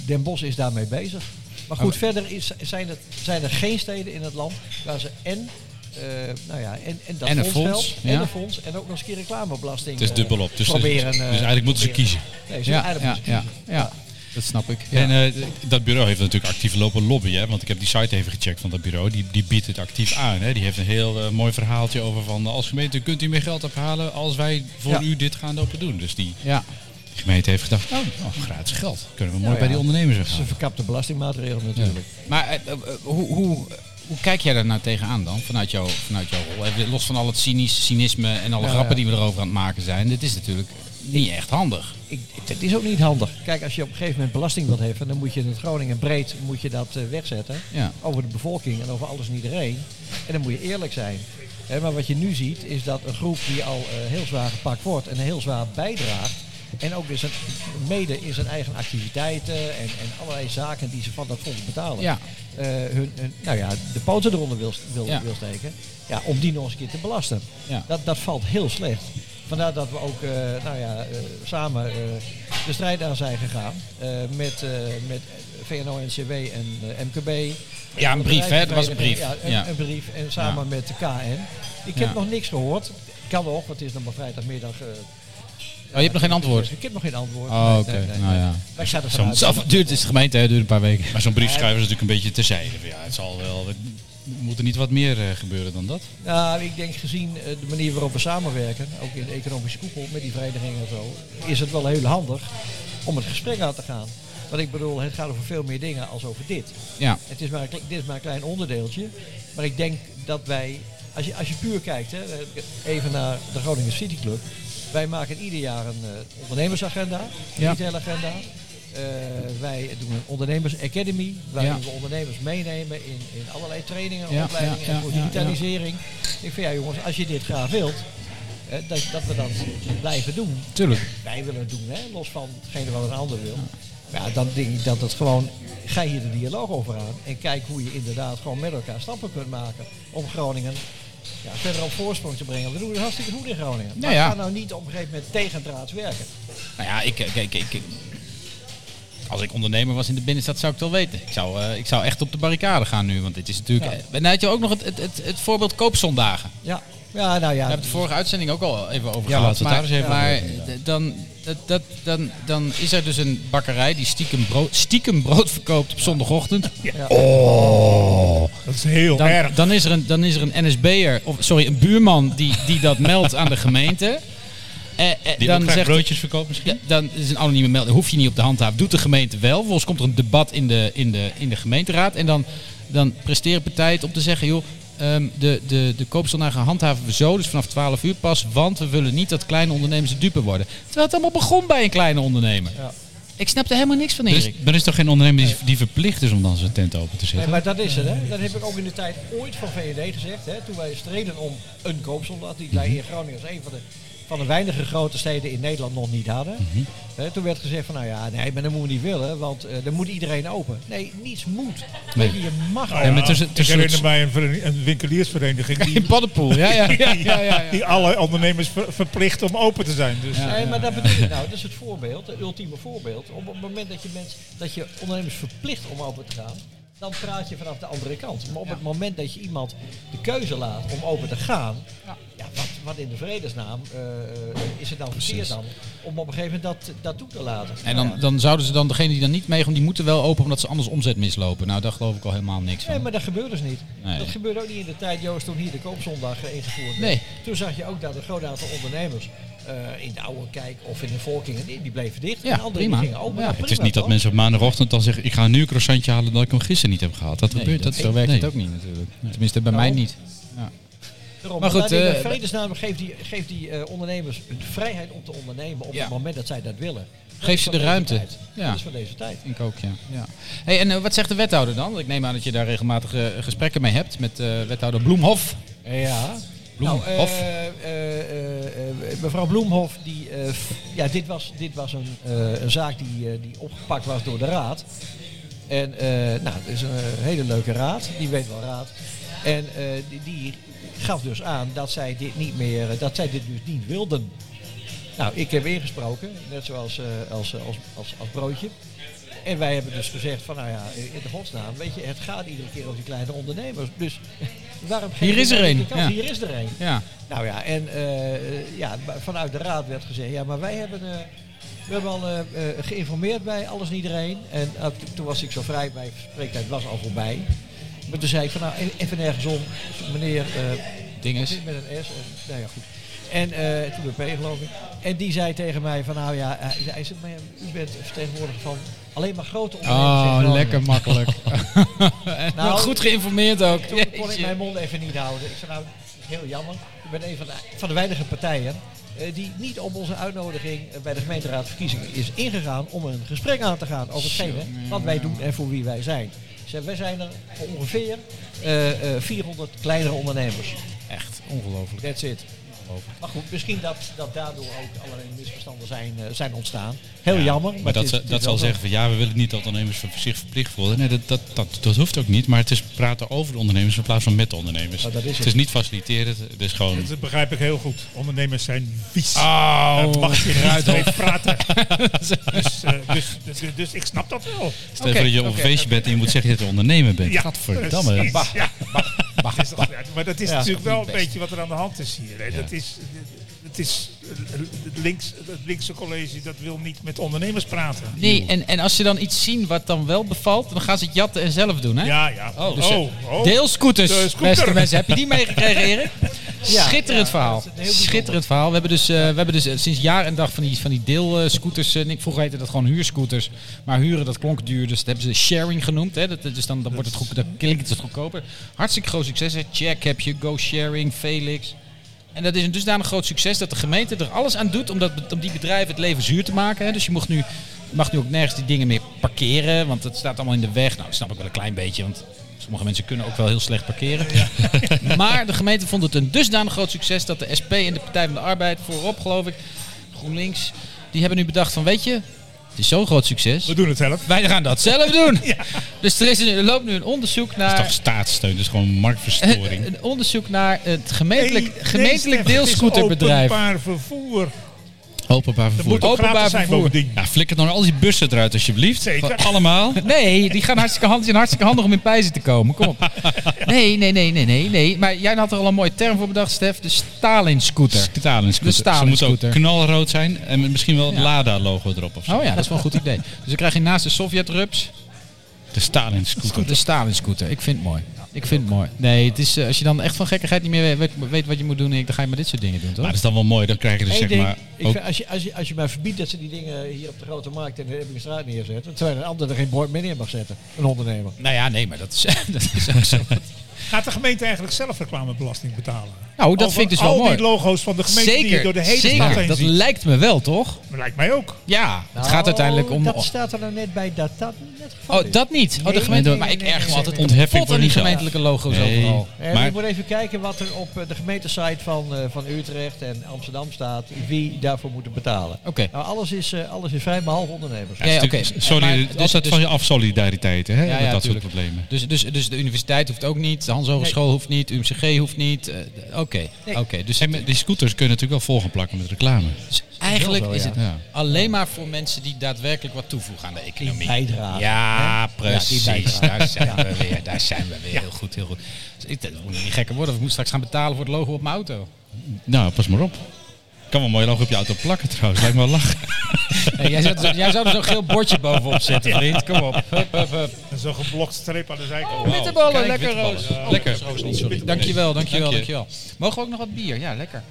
D: Den Bosch is daarmee bezig. Maar
C: Oh.
D: goed, verder is, zijn, er, zijn er geen steden in het land waar ze en, eh, nou ja, en, en dat
A: En een
D: fondsgeld,
A: fonds,
D: en
A: ja.
D: een fonds en ook nog eens een keer reclamebelasting.
C: Het is
D: eh,
C: dubbelop. Dus,
D: proberen,
C: dus
D: eh,
C: eigenlijk moeten ze
D: proberen.
C: kiezen.
D: Nee, ze
A: Ja, ja,
D: aardappels.
A: ja, ja, Dat snap ik. Ja.
C: En eh, dat bureau heeft natuurlijk actief lopen lobbyen. Hè? Want ik heb die site even gecheckt van dat bureau. Die, die biedt het actief aan. Hè? Die heeft een heel eh, mooi verhaaltje over van... eh, als gemeente kunt u meer geld ophalen als wij voor
A: Ja.
C: u dit gaan lopen doen. Dus die
A: ja.
C: gemeente heeft gedacht... oh, oh, gratis geld. Kunnen we mooi
D: Ja,
C: bij
D: ja.
C: die ondernemers
D: Dat is een
C: weghalen.
D: verkapte belastingmaatregel natuurlijk.
A: Maar eh, eh, eh, hoe, hoe, hoe kijk jij daar nou tegenaan dan, vanuit, jou, vanuat jouw rol? Even Los van al het cynisch, cynisme en alle
D: Ja,
A: grappen
D: ja.
A: die we erover aan het maken zijn. Dit is natuurlijk niet echt handig.
D: Ik, het is ook niet handig. Kijk, als je op een gegeven moment belasting wilt heffen, dan moet je in het Groningen breed moet je dat eh, wegzetten.
A: Ja.
D: Over de bevolking en over alles en iedereen. En dan moet je eerlijk zijn. Hè, maar wat je nu ziet, is dat een groep die al eh, heel zwaar gepakt wordt en heel zwaar bijdraagt. En ook dus mede in zijn eigen activiteiten en, en allerlei zaken die ze van dat fonds betalen.
A: Ja.
D: eh, hun, hun- nou ja, de poten eronder wil, wil,
A: Ja.
D: wil steken. Ja, om die nog eens een keer te belasten.
A: Ja.
D: Dat, dat valt heel slecht. Vandaar dat we ook eh, nou ja, eh, samen eh, de strijd aan zijn gegaan. eh, met, eh, met VNO, NCW en eh, MKB.
A: Ja, een brief, hè? Dat was een brief.
D: Ja, een,
A: Ja.
D: een brief. En samen
A: Ja.
D: met de KN. Ik
A: Ja.
D: heb nog niks gehoord. Kan nog, want het is nog maar vrijdagmiddag. eh,
A: Oh, je hebt nog geen antwoord?
D: Ik heb nog geen antwoord.
A: Oh,
D: Nee,
A: oké.
D: nee, nee,
A: Nou
D: nee.
A: ja.
D: Maar ik ga er
A: Het
D: vanuit.
A: is af- het duurt, het is de gemeente, hè, het duurt een paar weken.
C: Maar zo'n brief schrijven is natuurlijk een beetje terzijde. Van, Ja, het zal wel... we- Moet er niet wat meer eh, gebeuren dan dat?
D: Nou, ik denk gezien eh, de manier waarop we samenwerken, ook in de economische koepel met die verenigingen en zo, is het wel heel handig om het gesprek aan te gaan. Want ik bedoel, het gaat over veel meer dingen als over dit.
A: Ja.
D: Het is maar een, kle- dit is maar een klein onderdeeltje. Maar ik denk dat wij, als je, als je puur kijkt, hè, even naar de Groningen City Club. Wij maken ieder jaar een eh, ondernemersagenda, een
A: Ja.
D: retailagenda. Eh, wij doen een ondernemers academy, waarin
A: Ja.
D: we ondernemers meenemen in, in allerlei trainingen,
A: Ja,
D: opleidingen
A: ja, ja,
D: en voor
A: ja, ja.
D: digitalisering. Ik vind, ja jongens, als je dit graag wilt, eh, dat, dat we dat blijven doen.
A: Tuurlijk.
D: Wij willen het doen, hè, los van hetgene wat een ander wil. Maar ja, dan denk ik dat het gewoon, ga hier de dialoog over aan en kijk hoe je inderdaad gewoon met elkaar stappen kunt maken om Groningen ja, verder op voorsprong te brengen. We doen het hartstikke goed in Groningen. Maar
A: ja.
D: ga nou niet op een gegeven moment tegendraads werken.
A: Nou ja, ik, ik, ik, ik- ik- als ik ondernemer was in de binnenstad zou ik het wel weten. Ik zou, eh, ik zou echt op de barricade gaan nu. Want dit is natuurlijk...
D: Ja.
A: eh, En dan had je ook nog het, het, het, het voorbeeld koopzondagen.
D: Ja, ja nou ja.
A: Daar hebben we de vorige uitzending ook al even over
C: Ja,
A: gehad.
C: laten we het
A: maar
C: daar eens even
A: maar
C: over hebben,
A: d- dan, dat, dat, dan, dan is er dus een bakkerij die stiekem brood, stiekem brood verkoopt op zondagochtend.
E: Dat is heel
A: Dan,
E: erg.
A: dan, is er een, dan is er een NSB'er, of sorry, een buurman die, die dat meldt aan de gemeente. Eh, eh,
C: Die
A: dan
C: ook graag
A: zegt
C: broodjes verkoopt misschien?
A: Ja, dan is een anonieme melding. Hoef je niet op de handhaaf. Doet de gemeente wel. Vervolgens komt er een debat in de, in de, in de gemeenteraad. En dan, dan presteren partijen het om te zeggen... joh, ehm, de, de, de koopzondagen handhaven we zo. Dus vanaf 12 uur pas. Want we willen niet dat kleine ondernemers de dupe worden. Terwijl het allemaal begon bij een kleine ondernemer.
D: Ja.
A: Ik snap er helemaal niks van,
C: Er
A: Erik.
C: is, er is toch geen ondernemer die, die verplicht is om dan zijn tent open te
D: Nee,
C: zetten?
D: maar dat is het, hè. Dat heb ik ook in de tijd ooit van VVD gezegd. Hè. Toen wij streden om een koopzondag, die wij in Groningen als een van de, van de weinige grote steden in Nederland nog niet hadden. Hè, toen werd gezegd van, nou ja, nee, maar dat moeten we niet willen, want eh dan moet iedereen open. Nee, niets moet.
C: Nee.
D: Weet je, je mag
E: Nou
C: Ja,
E: ja,
C: maar tussen-
E: ik
C: tussen
E: herinner
C: het-
E: mij een, vereni- een winkeliersvereniging die,
A: In paddenpoel. Ja, ja, ja. ja, ja, ja.
E: die alle ondernemers ver- verplicht om open te zijn. Dus
D: Nee, maar dat bedoel ik nou. Dat is het voorbeeld, het ultieme voorbeeld. Op het moment dat je, mensen, dat je ondernemers verplicht om open te gaan, dan praat je vanaf de andere kant. Maar op het moment dat je iemand de keuze laat om open te gaan, ja. wat, wat in de vredesnaam eh, eh, is het dan verkeerd dan om op een gegeven moment dat, dat toe te laten?
A: En
D: Nou
A: dan,
D: ja.
A: dan zouden ze dan, degene die dan niet meegaan, die moeten wel open omdat ze anders omzet mislopen. Nou, daar geloof ik al helemaal niks
D: Nee,
A: van.
D: maar dat gebeurt dus niet.
A: Nee.
D: Dat gebeurde ook niet in de tijd, Joost, toen hier de koopzondag eh, ingevoerd werd.
A: Nee.
D: Toen zag je ook dat een groot aantal ondernemers eh, in de oude kijk of in de volkingen, die die bleven dicht.
A: Ja,
D: en anderen
A: prima.
D: die gingen open.
A: Ja,
D: Nou,
A: het
C: Het is
D: prima,
C: niet dat
D: toch?
C: mensen op maandagochtend dan zeggen, ik ga nu een croissantje halen dat ik hem gisteren niet heb gehad. Dat
A: Nee,
C: gebeurt
A: dat,
C: dat,
A: zo werkt
C: nee.
A: het ook niet natuurlijk. Tenminste, bij
D: Nou.
A: mij niet.
D: Daarom,
A: Maar
D: maar
A: goed,
D: goed, in
A: eh,
D: vredesnaam geeft die, geeft die eh, ondernemers de vrijheid om te ondernemen op
A: Ja.
D: het moment dat zij dat willen. Dat
A: Geef
D: is
A: ze
D: van
A: de
D: deze
A: ruimte.
D: tijd.
A: Ja.
D: Dat is van deze tijd.
A: Ik ook, ja. ja. Hey, en eh, wat zegt de wethouder dan? Want Ik neem aan dat je daar regelmatig eh, gesprekken mee hebt met eh, wethouder Bloemhof.
D: Ja. Nou, eh,
A: Bloemhof.
D: eh, eh, eh, mevrouw Bloemhof, die, eh, f- ja, dit was, dit was een, eh, een zaak die, eh, die opgepakt was door de raad. En eh, nou, het is een eh, hele leuke raad, die weet wel raad. En eh, die, die gaf dus aan dat zij dit niet meer, eh, dat zij dit dus niet wilden. Nou, ik heb ingesproken, net zoals eh, als, als, als, als broodje. En wij hebben dus gezegd van, nou ja, in de godsnaam, weet je, het gaat iedere keer over die kleine ondernemers. Dus waarom geef
A: Hier
D: je nou
A: is er
D: niet
A: een,
D: de kans?
A: ja.
D: Hier is er een.
A: Ja.
D: Nou ja, en eh, eh, ja, maar vanuit de raad werd gezegd, ja, maar wij hebben, eh, we hebben al eh, eh, geïnformeerd bij alles en iedereen. En eh, t- toen was ik zo vrij, mijn spreektijd was al voorbij. Maar toen zei ik van, nou, e- even ergens om, meneer... eh,
A: Dinges.
D: met een S. En, nou ja, goed. En eh, toen een P geloof ik. En die zei tegen mij van nou ja, eh, hij zei, "Maar u bent vertegenwoordiger van alleen maar grote ondernemers. in
A: Oh,
D: Groningen."
A: lekker makkelijk. En
D: Nou,
A: goed geïnformeerd ook.
D: Toen kon ik
A: Jeetje.
D: mijn mond even niet houden. Ik zei nou, dat is heel jammer. Ik ben een van de, van de weinige partijen eh, die niet op onze uitnodiging eh, bij de gemeenteraadverkiezingen is ingegaan om een gesprek aan te gaan over hetgene wat wij doen en voor wie wij zijn. Ik zei, wij zijn er voor ongeveer eh, eh, 400 kleinere ondernemers.
A: Echt ongelooflijk.
D: That's it. Maar goed, misschien dat, dat daardoor ook allerlei misverstanden zijn, eh, zijn ontstaan. Heel
C: Ja,
D: jammer.
C: Maar
D: het
C: dat,
D: is-
C: ze-
D: het is
C: dat
D: wel
C: zal
D: zo.
C: zeggen van ja, we willen niet dat ondernemers ver- zich verplicht voelen. Nee, dat, dat, dat, dat hoeft ook niet. Maar het is praten over de ondernemers in plaats van met de ondernemers.
D: Maar dat is
C: het
D: het.
C: is niet faciliteren, het is gewoon...
E: dat begrijp ik heel goed. Ondernemers zijn vies.
A: Oh,
E: Daar mag je
A: eruit,
E: niet
A: hoor.
E: mee praten. dus, eh, dus, dus, dus ik snap dat wel.
C: Stel je voor dat je op een feestje bent en je moet zeggen dat je ondernemer bent.
E: Ja,
C: Gadverdamme.
E: precies. Ja, dat is toch- maar dat is
D: Ja,
E: natuurlijk wel een
A: best.
E: beetje wat er aan de hand is hier. Hè. Dat is, het is het links, het linkse college dat wil niet met ondernemers praten.
A: Nee, en, en als ze dan iets zien wat dan wel bevalt, dan gaan ze het jatten en zelf doen, hè?
E: Ja, ja.
A: Oh,
E: Oh,
A: dus,
E: oh,
A: Deelscooters,
E: De scooter.
A: beste mensen. Heb je die meegekregen, Erik?
D: Ja,
A: Schitterend
D: ja,
A: verhaal.
D: dat is een heel bijzonder.
A: Schitterend verhaal. We hebben dus, eh, we hebben dus eh, sinds jaar en dag van die, van die deelscooters. eh, Nick, vroeger heette dat gewoon huurscooters. Maar huren, dat klonk duur. Dus dat hebben ze sharing genoemd. Hè. Dat, dat- dus dan, dan, wordt het goed, dan klinkt het goedkoper. Hartstikke groot succes. Hè. Jack heb je, Go Sharing, Felix. En dat is een dusdanig groot succes dat de gemeente er alles aan doet om, dat, om die bedrijven het leven zuur te maken. Hè. Dus je mag nu, mag nu ook nergens die dingen meer parkeren, want het staat allemaal in de weg. Nou, dat snap ik wel een klein beetje, want sommige mensen kunnen ook wel heel slecht parkeren. maar de gemeente vond het een dusdanig groot succes dat de SP en de Partij van de Arbeid voorop, geloof ik, GroenLinks, die hebben nu bedacht van weet je, Het is zo'n groot succes.
E: We doen het zelf.
A: Wij gaan dat zelf doen. Dus er, is een- er loopt nu een onderzoek
C: Dat is
A: naar.
C: toch staatssteun, dat is gewoon marktverstoring.
A: Een onderzoek naar het gemeentelijk,
E: Nee, nee,
A: gemeentelijk
E: Stef, het is
A: deelscooterbedrijf.
E: Openbaar vervoer.
C: Openbaar
E: Dat
C: vervoer.
E: moet ook
A: Openbaar
E: gratis zijn
A: vervoer.
E: bovendien.
C: Ja, flikker dan al die bussen eruit alsjeblieft.
E: Zeker.
C: Gewoon Allemaal.
A: Nee, die gaan hartstikke handig, zijn hartstikke handig om in pijzen te komen. Kom op. Nee, nee, nee, nee, nee, nee. Maar jij had er al een mooie term voor bedacht, Stef. De Stalin-scooter. De
C: Stalinscooter. Ze moeten ook
A: Stalinscooter.
C: knalrood zijn en misschien wel het
A: Ja.
C: Lada-logo erop of zo.
A: Oh ja, dat is wel een goed idee. Dus dan krijg je naast de Sovjet-rups
C: De Stalinscooter. Nou,
A: de Stalin-scooter. Ik vind het mooi. Ik vind het mooi. Nee, het is, eh, als je dan echt van gekkigheid niet meer weet, weet wat je moet doen, dan ga je maar dit soort dingen doen,
C: Maar
A: toch?
C: dat is dan wel mooi, dan krijg je dus
D: Eén
C: zeg
D: ding,
C: maar
D: ik
C: ook
D: vind, als, je, als, je, als je mij verbiedt dat ze die dingen hier op de grote markt en de Ebbingstraat neerzetten, terwijl een ander er geen bord meer neer mag zetten, een ondernemer.
A: Nou ja, nee, maar dat is, dat is ook zo.
E: Gaat de gemeente eigenlijk zelf reclamebelasting betalen?
A: Nou, dat
E: Over
A: vind ik dus wel
E: al
A: mooi.
E: die logo's van de gemeente die je door de hele stad
A: zeker.
E: heen
A: Dat
E: ziet.
A: lijkt me wel, toch?
E: Lijkt mij ook.
A: Ja, het gaat uiteindelijk om...
D: Nou, Dat staat er nou net bij dat dat niet het geval
A: Oh,
D: is.
A: dat niet. Oh, de
D: Nee,
A: gemeente.
D: nee,
A: maar
D: nee,
A: ik
D: nee,
A: erg me
D: nee,
A: altijd
D: nee.
A: ontheffing
C: Pot aan
A: aan die
C: die
A: gemeentelijke logo's
C: Nee.
A: overal.
D: Eh,
C: Maar-
D: ik moet even kijken wat er op eh, de gemeentesite van, eh, van Utrecht en Amsterdam staat, wie daarvoor moeten betalen.
A: Oké.
D: Nou, alles is, eh, alles is vrij, behalve ondernemers.
A: Ja,
C: Natuurlijk,
A: oké.
C: Sorry,
A: Maar
C: het is
A: dus-
C: altijd
A: dus-
C: van je afsolidariteit hè,
A: ja,
C: met dat soort
A: tuurlijk.
C: problemen.
A: Dus, dus, dus de universiteit hoeft ook niet, de Hans Hogeschool hoeft niet, UMCG hoeft niet. eh, d- Oké, oké. Dus,
C: En met die scooters kunnen natuurlijk wel volgen plakken met reclame.
A: dus eigenlijk
D: wel,
A: is
D: ja.
A: het
C: Ja.
A: alleen maar voor mensen die daadwerkelijk wat toevoegen aan de economie.
D: Bijdragen.
A: Ja,
D: Ja, die
A: precies.
D: bijdrage.
A: daar, zijn we weer, daar zijn we weer. Heel goed, heel goed. Dus ik dat moet niet gekker worden. of Ik moet straks gaan betalen voor het logo op mijn auto.
C: Nou, pas maar op. Kan wel een mooi logo op je auto plakken trouwens, lijkt me wel lachen.
A: Nee, jij, zou, jij zou er zo'n geel bordje bovenop zetten, vriend. Kom op. Hup, hup, hup. Oh,
E: En zo'n geblokt streep aan de zijkant.
A: Bitterballen,
C: Kijk,
A: lekker
C: bitterballen.
A: Roos.
C: Lekker.
A: Sorry. Dankjewel, dankjewel, dankjewel. Mogen we ook nog wat bier? Ja, lekker.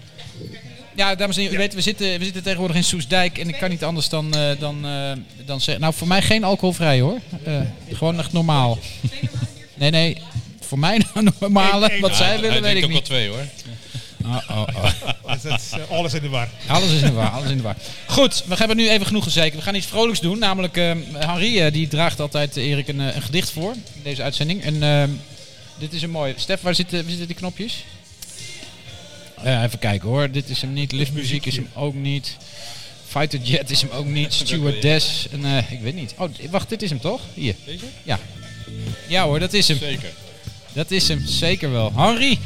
A: Ja, dames en heren, u weet, we zitten, we zitten tegenwoordig in Soesdijk en ik kan niet anders dan, eh, dan, eh, dan zeggen... Nou, voor mij geen alcoholvrij hoor. Eh, gewoon echt normaal. Nee, nee, voor mij normale. Wat zij willen, weet ik niet.
C: twee hoor.
A: Oh, oh, oh.
E: Dus dat is, eh, alles in de war.
A: Alles is in de war, alles in de war. Goed, we hebben nu even genoeg gezeken. We gaan iets vrolijks doen, namelijk eh, Henri eh, die draagt altijd eh, Erik een, eh, een gedicht voor in deze uitzending. En eh, dit is een mooie. Stef, waar zitten, waar zitten die knopjes? Eh, even kijken hoor, dit is hem niet. Liftmuziek is hem ook niet. Fighter Jet is hem ook niet. Stewardess, en, eh, ik weet niet. Oh, d- wacht, dit is hem toch? Hier.
C: Deze?
A: Ja. Ja hoor, dat is hem.
C: Zeker.
A: Dat is hem, zeker wel. Henri!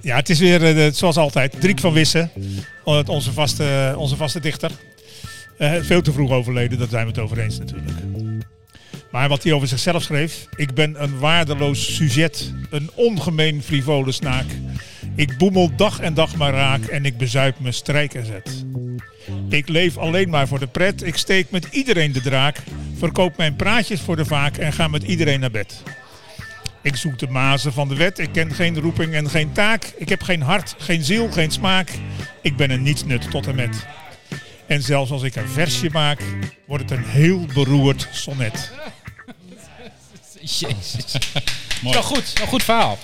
E: Ja, het is weer eh, de- zoals altijd. Driek van Wissen, eh, onze vaste, onze vaste dichter. Eh, veel te vroeg overleden, daar zijn we het over eens natuurlijk. Maar wat hij over zichzelf schreef. Ik ben een waardeloos sujet, een ongemeen frivole snaak. Ik boemel dag en dag maar raak en ik bezuip me strijk en zet. Ik leef alleen maar voor de pret, ik steek met iedereen de draak. Verkoop mijn praatjes voor de vaak en ga met iedereen naar bed. Ik zoek de mazen van de wet, ik ken geen roeping en geen taak. Ik heb geen hart, geen ziel, geen smaak. Ik ben een nietsnut tot en met. En zelfs als ik een versje maak, wordt het een heel beroerd sonnet.
A: Jezus. Wel goed, wel goed verhaal.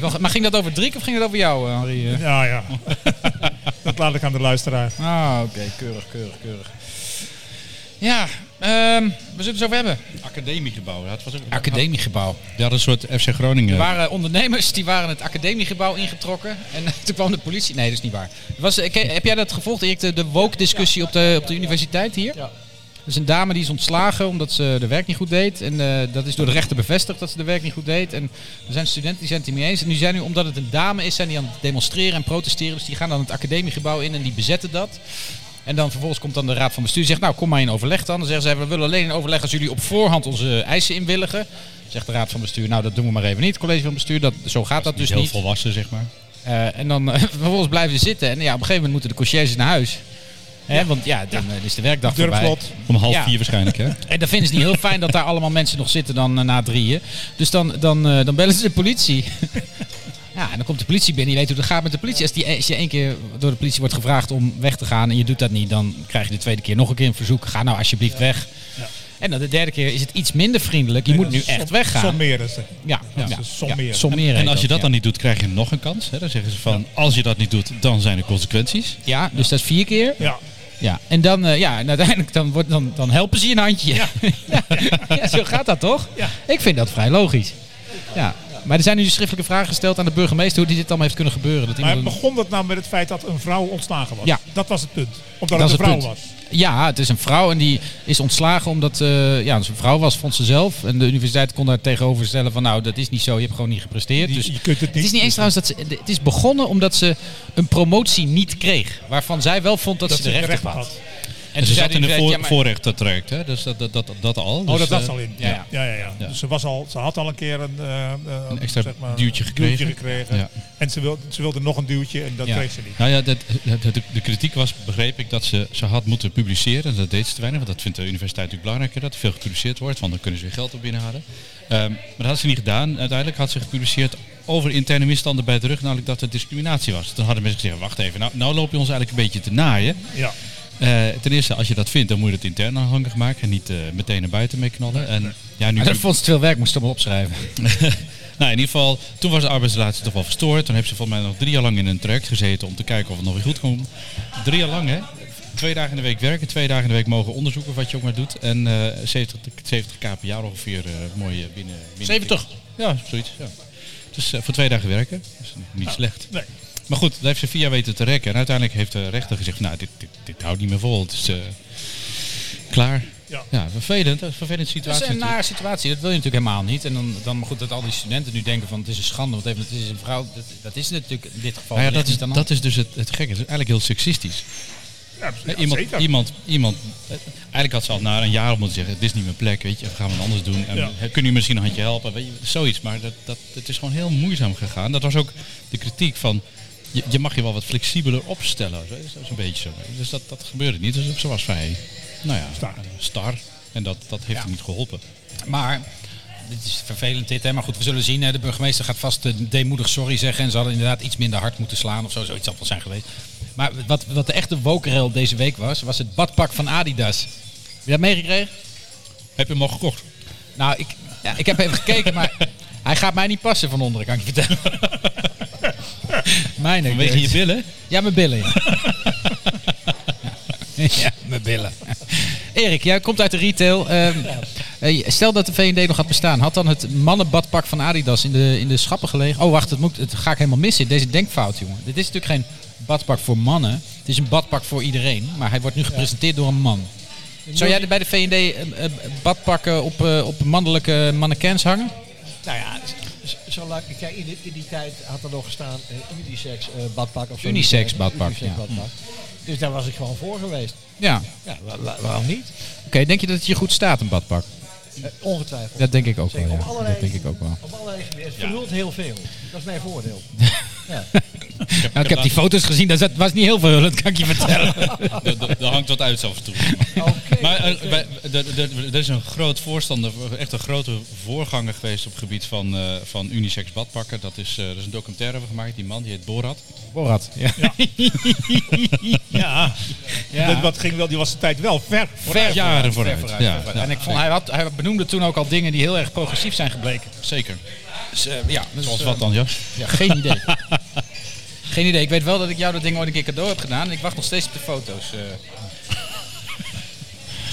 A: Wel goed. Maar ging dat over Driek of ging dat over jou, eh, Henri? eh?
E: Ja, ja. Dat laat ik aan de luisteraar.
A: Ah, oké. Keurig, keurig, keurig. Ja, ehm, we zullen het zo over hebben.
C: Academiegebouw. Dat was ook
A: Academiegebouw.
C: Ja, dat is een soort FC Groningen.
A: Er waren ondernemers die waren het academiegebouw ingetrokken. En toen kwam de politie. Nee, dat is niet waar. Er Was, eh, ke- heb jij dat gevolgd, Erik? De, de woke-discussie op de, op de universiteit hier?
D: Ja.
A: Er is een dame die is ontslagen omdat ze de werk niet goed deed. En eh, dat is door de rechter bevestigd dat ze de werk niet goed deed. En er zijn studenten die zijn het er niet mee eens. En nu zijn nu, omdat het een dame is, zijn die aan het demonstreren en protesteren. Dus die gaan dan het academiegebouw in en die bezetten dat. En dan vervolgens komt dan de raad van bestuur en zegt, nou kom maar in overleg dan. Dan zeggen zij, we willen alleen in overleg als jullie op voorhand onze eisen inwilligen. Zegt de raad van bestuur, nou dat doen we maar even niet, het college van bestuur. Dat, zo gaat dat, dus
C: heel
A: niet.
C: volwassen, zeg maar.
A: Eh, en dan eh, vervolgens blijven ze zitten. En ja, op een gegeven moment moeten de conciërges naar huis. Hè, want ja, dan eh, is de werkdag voorbij.
E: Durflot.
C: Om half
A: Ja.
C: vier waarschijnlijk, hè?
A: En dat vinden ze niet heel fijn dat daar allemaal mensen nog zitten dan eh, na drieën. Dus dan, dan, eh, dan bellen ze de politie. ja, en dan komt de politie binnen. Je weet hoe het gaat met de politie. Als, die, als je één keer door de politie wordt gevraagd om weg te gaan en je doet dat niet, dan krijg je de tweede keer nog een keer een verzoek. Ga nou alsjeblieft weg. En dan de derde keer is het iets minder vriendelijk. Je moet nu echt weggaan.
E: Sommeren ze.
A: Ja, ja,
E: Dat is
A: ja,
E: sommeren.
A: sommeren
C: En
A: heet
C: als je dat
A: ja.
C: dan niet doet, krijg je nog een kans. Hè? Dan zeggen ze van, als je dat niet doet, dan zijn er consequenties.
A: Ja, dus dat is vier keer.
E: Ja.
A: Ja, en dan, eh, ja, en uiteindelijk dan, wordt, dan, dan helpen ze je een handje. Ja. ja, zo gaat dat toch?
E: Ja.
A: Ik vind dat vrij logisch. Ja, Maar er zijn nu schriftelijke vragen gesteld aan de burgemeester hoe die dit allemaal heeft kunnen gebeuren. Dat
E: Maar
A: iemand een-
E: begon dat nou met het feit dat een vrouw ontslagen was?
A: Ja.
E: Dat was het punt. Omdat
A: Dat
E: het een
A: is
E: vrouw
A: het
E: was.
A: Ja, het is een vrouw en die is ontslagen omdat eh ja, ze een vrouw was, vond ze zelf. En de universiteit kon daar tegenover stellen van nou, dat is niet zo, je hebt gewoon niet gepresteerd. Dus
E: je kunt het niet.
A: het is niet eens trouwens dat ze, het is begonnen omdat ze een promotie niet kreeg. Waarvan zij wel vond dat,
E: dat
A: ze de
E: ze
A: recht op had.
E: had.
C: En ze
A: toen
C: zat
A: zei
C: in
A: die direct,
C: de voor,
A: ja, maar-
C: voorrechtertraject, hè? Dus dat, dat, dat, dat al.
E: Oh,
C: Dus,
E: dat
C: eh,
E: was al in. Ja,
A: ja.
E: ja, ja. ja.
C: Ja.
E: Dus ze, was al, ze had al een keer een, eh, eh,
C: Een extra
E: zeg maar,
C: duwtje gekregen.
E: gekregen.
C: Ja.
E: En ze wilde, ze wilde nog een duwtje en dat
C: Ja.
E: kreeg ze niet.
C: Nou ja, dat, dat- dat- de kritiek was, begreep ik, dat ze, ze had moeten publiceren. Dat deed ze te weinig, want dat vindt de universiteit natuurlijk belangrijker. Dat er veel gepubliceerd wordt, want dan kunnen ze weer geld op binnenhalen. Ehm, maar dat had ze niet gedaan. Uiteindelijk had ze gepubliceerd over interne misstanden bij de rug, namelijk dat er discriminatie was. Toen hadden mensen gezegd, wacht even, nou, nou loop je ons eigenlijk een beetje te naaien.
E: Ja.
C: Eh, ten eerste, als je dat vindt, dan moet je het intern aanhankig maken en niet eh, meteen naar buiten mee knallen. En, ja, nu
A: Maar dat vond ze te veel werk, moest ze allemaal opschrijven.
C: nou, in ieder geval, toen was de arbeidsrelatie toch wel verstoord. Toen heeft ze volgens mij nog drie jaar lang in een traject gezeten om te kijken of het nog weer goed kon. Drie jaar lang, hè? Twee dagen in de week werken, twee dagen in de week mogen onderzoeken wat je ook maar doet. En eh 70, 70 k per jaar ongeveer eh, mooi eh, binnen, binnen.
A: 70?
C: Ja, zoiets. Ja. Dus eh, voor twee dagen werken, dus niet slecht.
E: Nee.
C: Maar goed, dat heeft ze via weten te rekken. En uiteindelijk heeft de rechter gezegd, nou, dit, dit, dit houdt niet meer vol. Het is eh, klaar.
E: Ja.
C: vervelend. Dat is een vervelende
A: Dat
C: situatie
A: is een
C: natuurlijk.
A: nare situatie, dat wil je natuurlijk helemaal niet. En dan, dan maar goed dat al die studenten nu denken van het is een schande, want even, het is een vrouw. Dat, dat is natuurlijk in dit geval
C: Nou
A: wellicht
C: ja, dat, is,
A: niet aan de
C: dat is dus het, het gekke. Het is eigenlijk heel seksistisch.
E: Ja,
C: Hè,
E: ja,
C: iemand,
E: zeker.
C: iemand, iemand, eh, eigenlijk had ze al na een jaar op moeten zeggen, dit is niet mijn plek, weet je, of gaan we het anders doen. En,
E: Ja.
C: hè, Kunnen je misschien een handje helpen, weet je, zoiets. Maar dat, dat, het is gewoon heel moeizaam gegaan. Dat was ook de kritiek van, je, je mag je wel wat flexibeler opstellen. Zo, Dat is een beetje zo. Dus dat, dat gebeurde niet. Dus ze was vrij, nou ja, star. En dat, dat heeft hem niet geholpen.
A: Maar, dit is vervelend dit, hè? maar goed, we zullen zien. hè. De burgemeester gaat vast eh, deemoedig sorry zeggen. En ze hadden inderdaad iets minder hard moeten slaan of zo. Zoiets zal wel zijn geweest. Maar wat, wat de echte wokerel deze week was, was het badpak van Adidas. Heb je dat meegekregen?
C: Heb je hem al gekocht?
A: Nou, ik, ja, ik heb even gekeken, maar hij gaat mij niet passen van onderen, kan ik je vertellen. Mijn
C: Vanwege je billen?
A: Ja, mijn billen. Ja, Ja, mijn billen. Erik, jij komt uit de retail. Ehm, eh, Stel dat de V&D nog had bestaan. Had dan het mannenbadpak van Adidas in de, in de schappen gelegen? Oh, wacht, het, moet, het ga ik helemaal missen. Deze denkfout, jongen. Dit is natuurlijk geen badpak voor mannen. Het is een badpak voor iedereen. Maar hij wordt nu gepresenteerd door een man. Zou jij er bij de V&D eh, eh, badpakken op, eh, op mannelijke mannequins hangen?
D: Nou ja, z- z- zolang, kijk, in, die, in die tijd had er nog gestaan eh, unisex eh, badpak of zo.
A: Unisex
D: Eh,
A: badpak,
D: unisex
A: ja.
D: badpak. Dus daar was ik gewoon voor geweest.
A: Ja.
D: Ja, wa- wa- waarom niet?
A: Oké, denk je dat het je goed staat, een badpak?
D: Eh, ongetwijfeld.
A: Dat denk ik ook wel,
D: Zeker, op
A: ja.
D: allerlei-
A: Dat denk ik ook wel.
D: Op allerlei gebieden. Het verhult heel veel. Dat is mijn voordeel.
A: Nou, ik heb die foto's gezien, dat zat- was niet heel verhullend, kan ik je vertellen.
C: Dat- dat- dat hangt wat uit zelfs toe. Maar eh, bij- de- de- de- er is een groot voorstander, echt een grote voorganger geweest op het gebied van, eh, van unisex badpakken. Dat is, eh er is een documentaire over gemaakt, die man die heet Borat.
A: Borat. Ja.
E: Ja.
A: Ja.
E: Dat, dat ging wel, die was de tijd wel ver.
A: Ver
C: Jaren vooruit.
A: Ver
C: Ja,
A: ver vooruit.
C: ja.
A: En ik vond, hij, had, hij benoemde toen ook al dingen die heel erg progressief zijn gebleken.
C: Zeker.
A: Dus, eh, ja, dus,
C: Zoals
A: eh,
C: wat dan, Jas?
A: Ja, geen idee. geen idee. Ik weet wel dat ik jou dat ding ooit een keer cadeau heb gedaan en ik wacht nog steeds op de foto's. eh.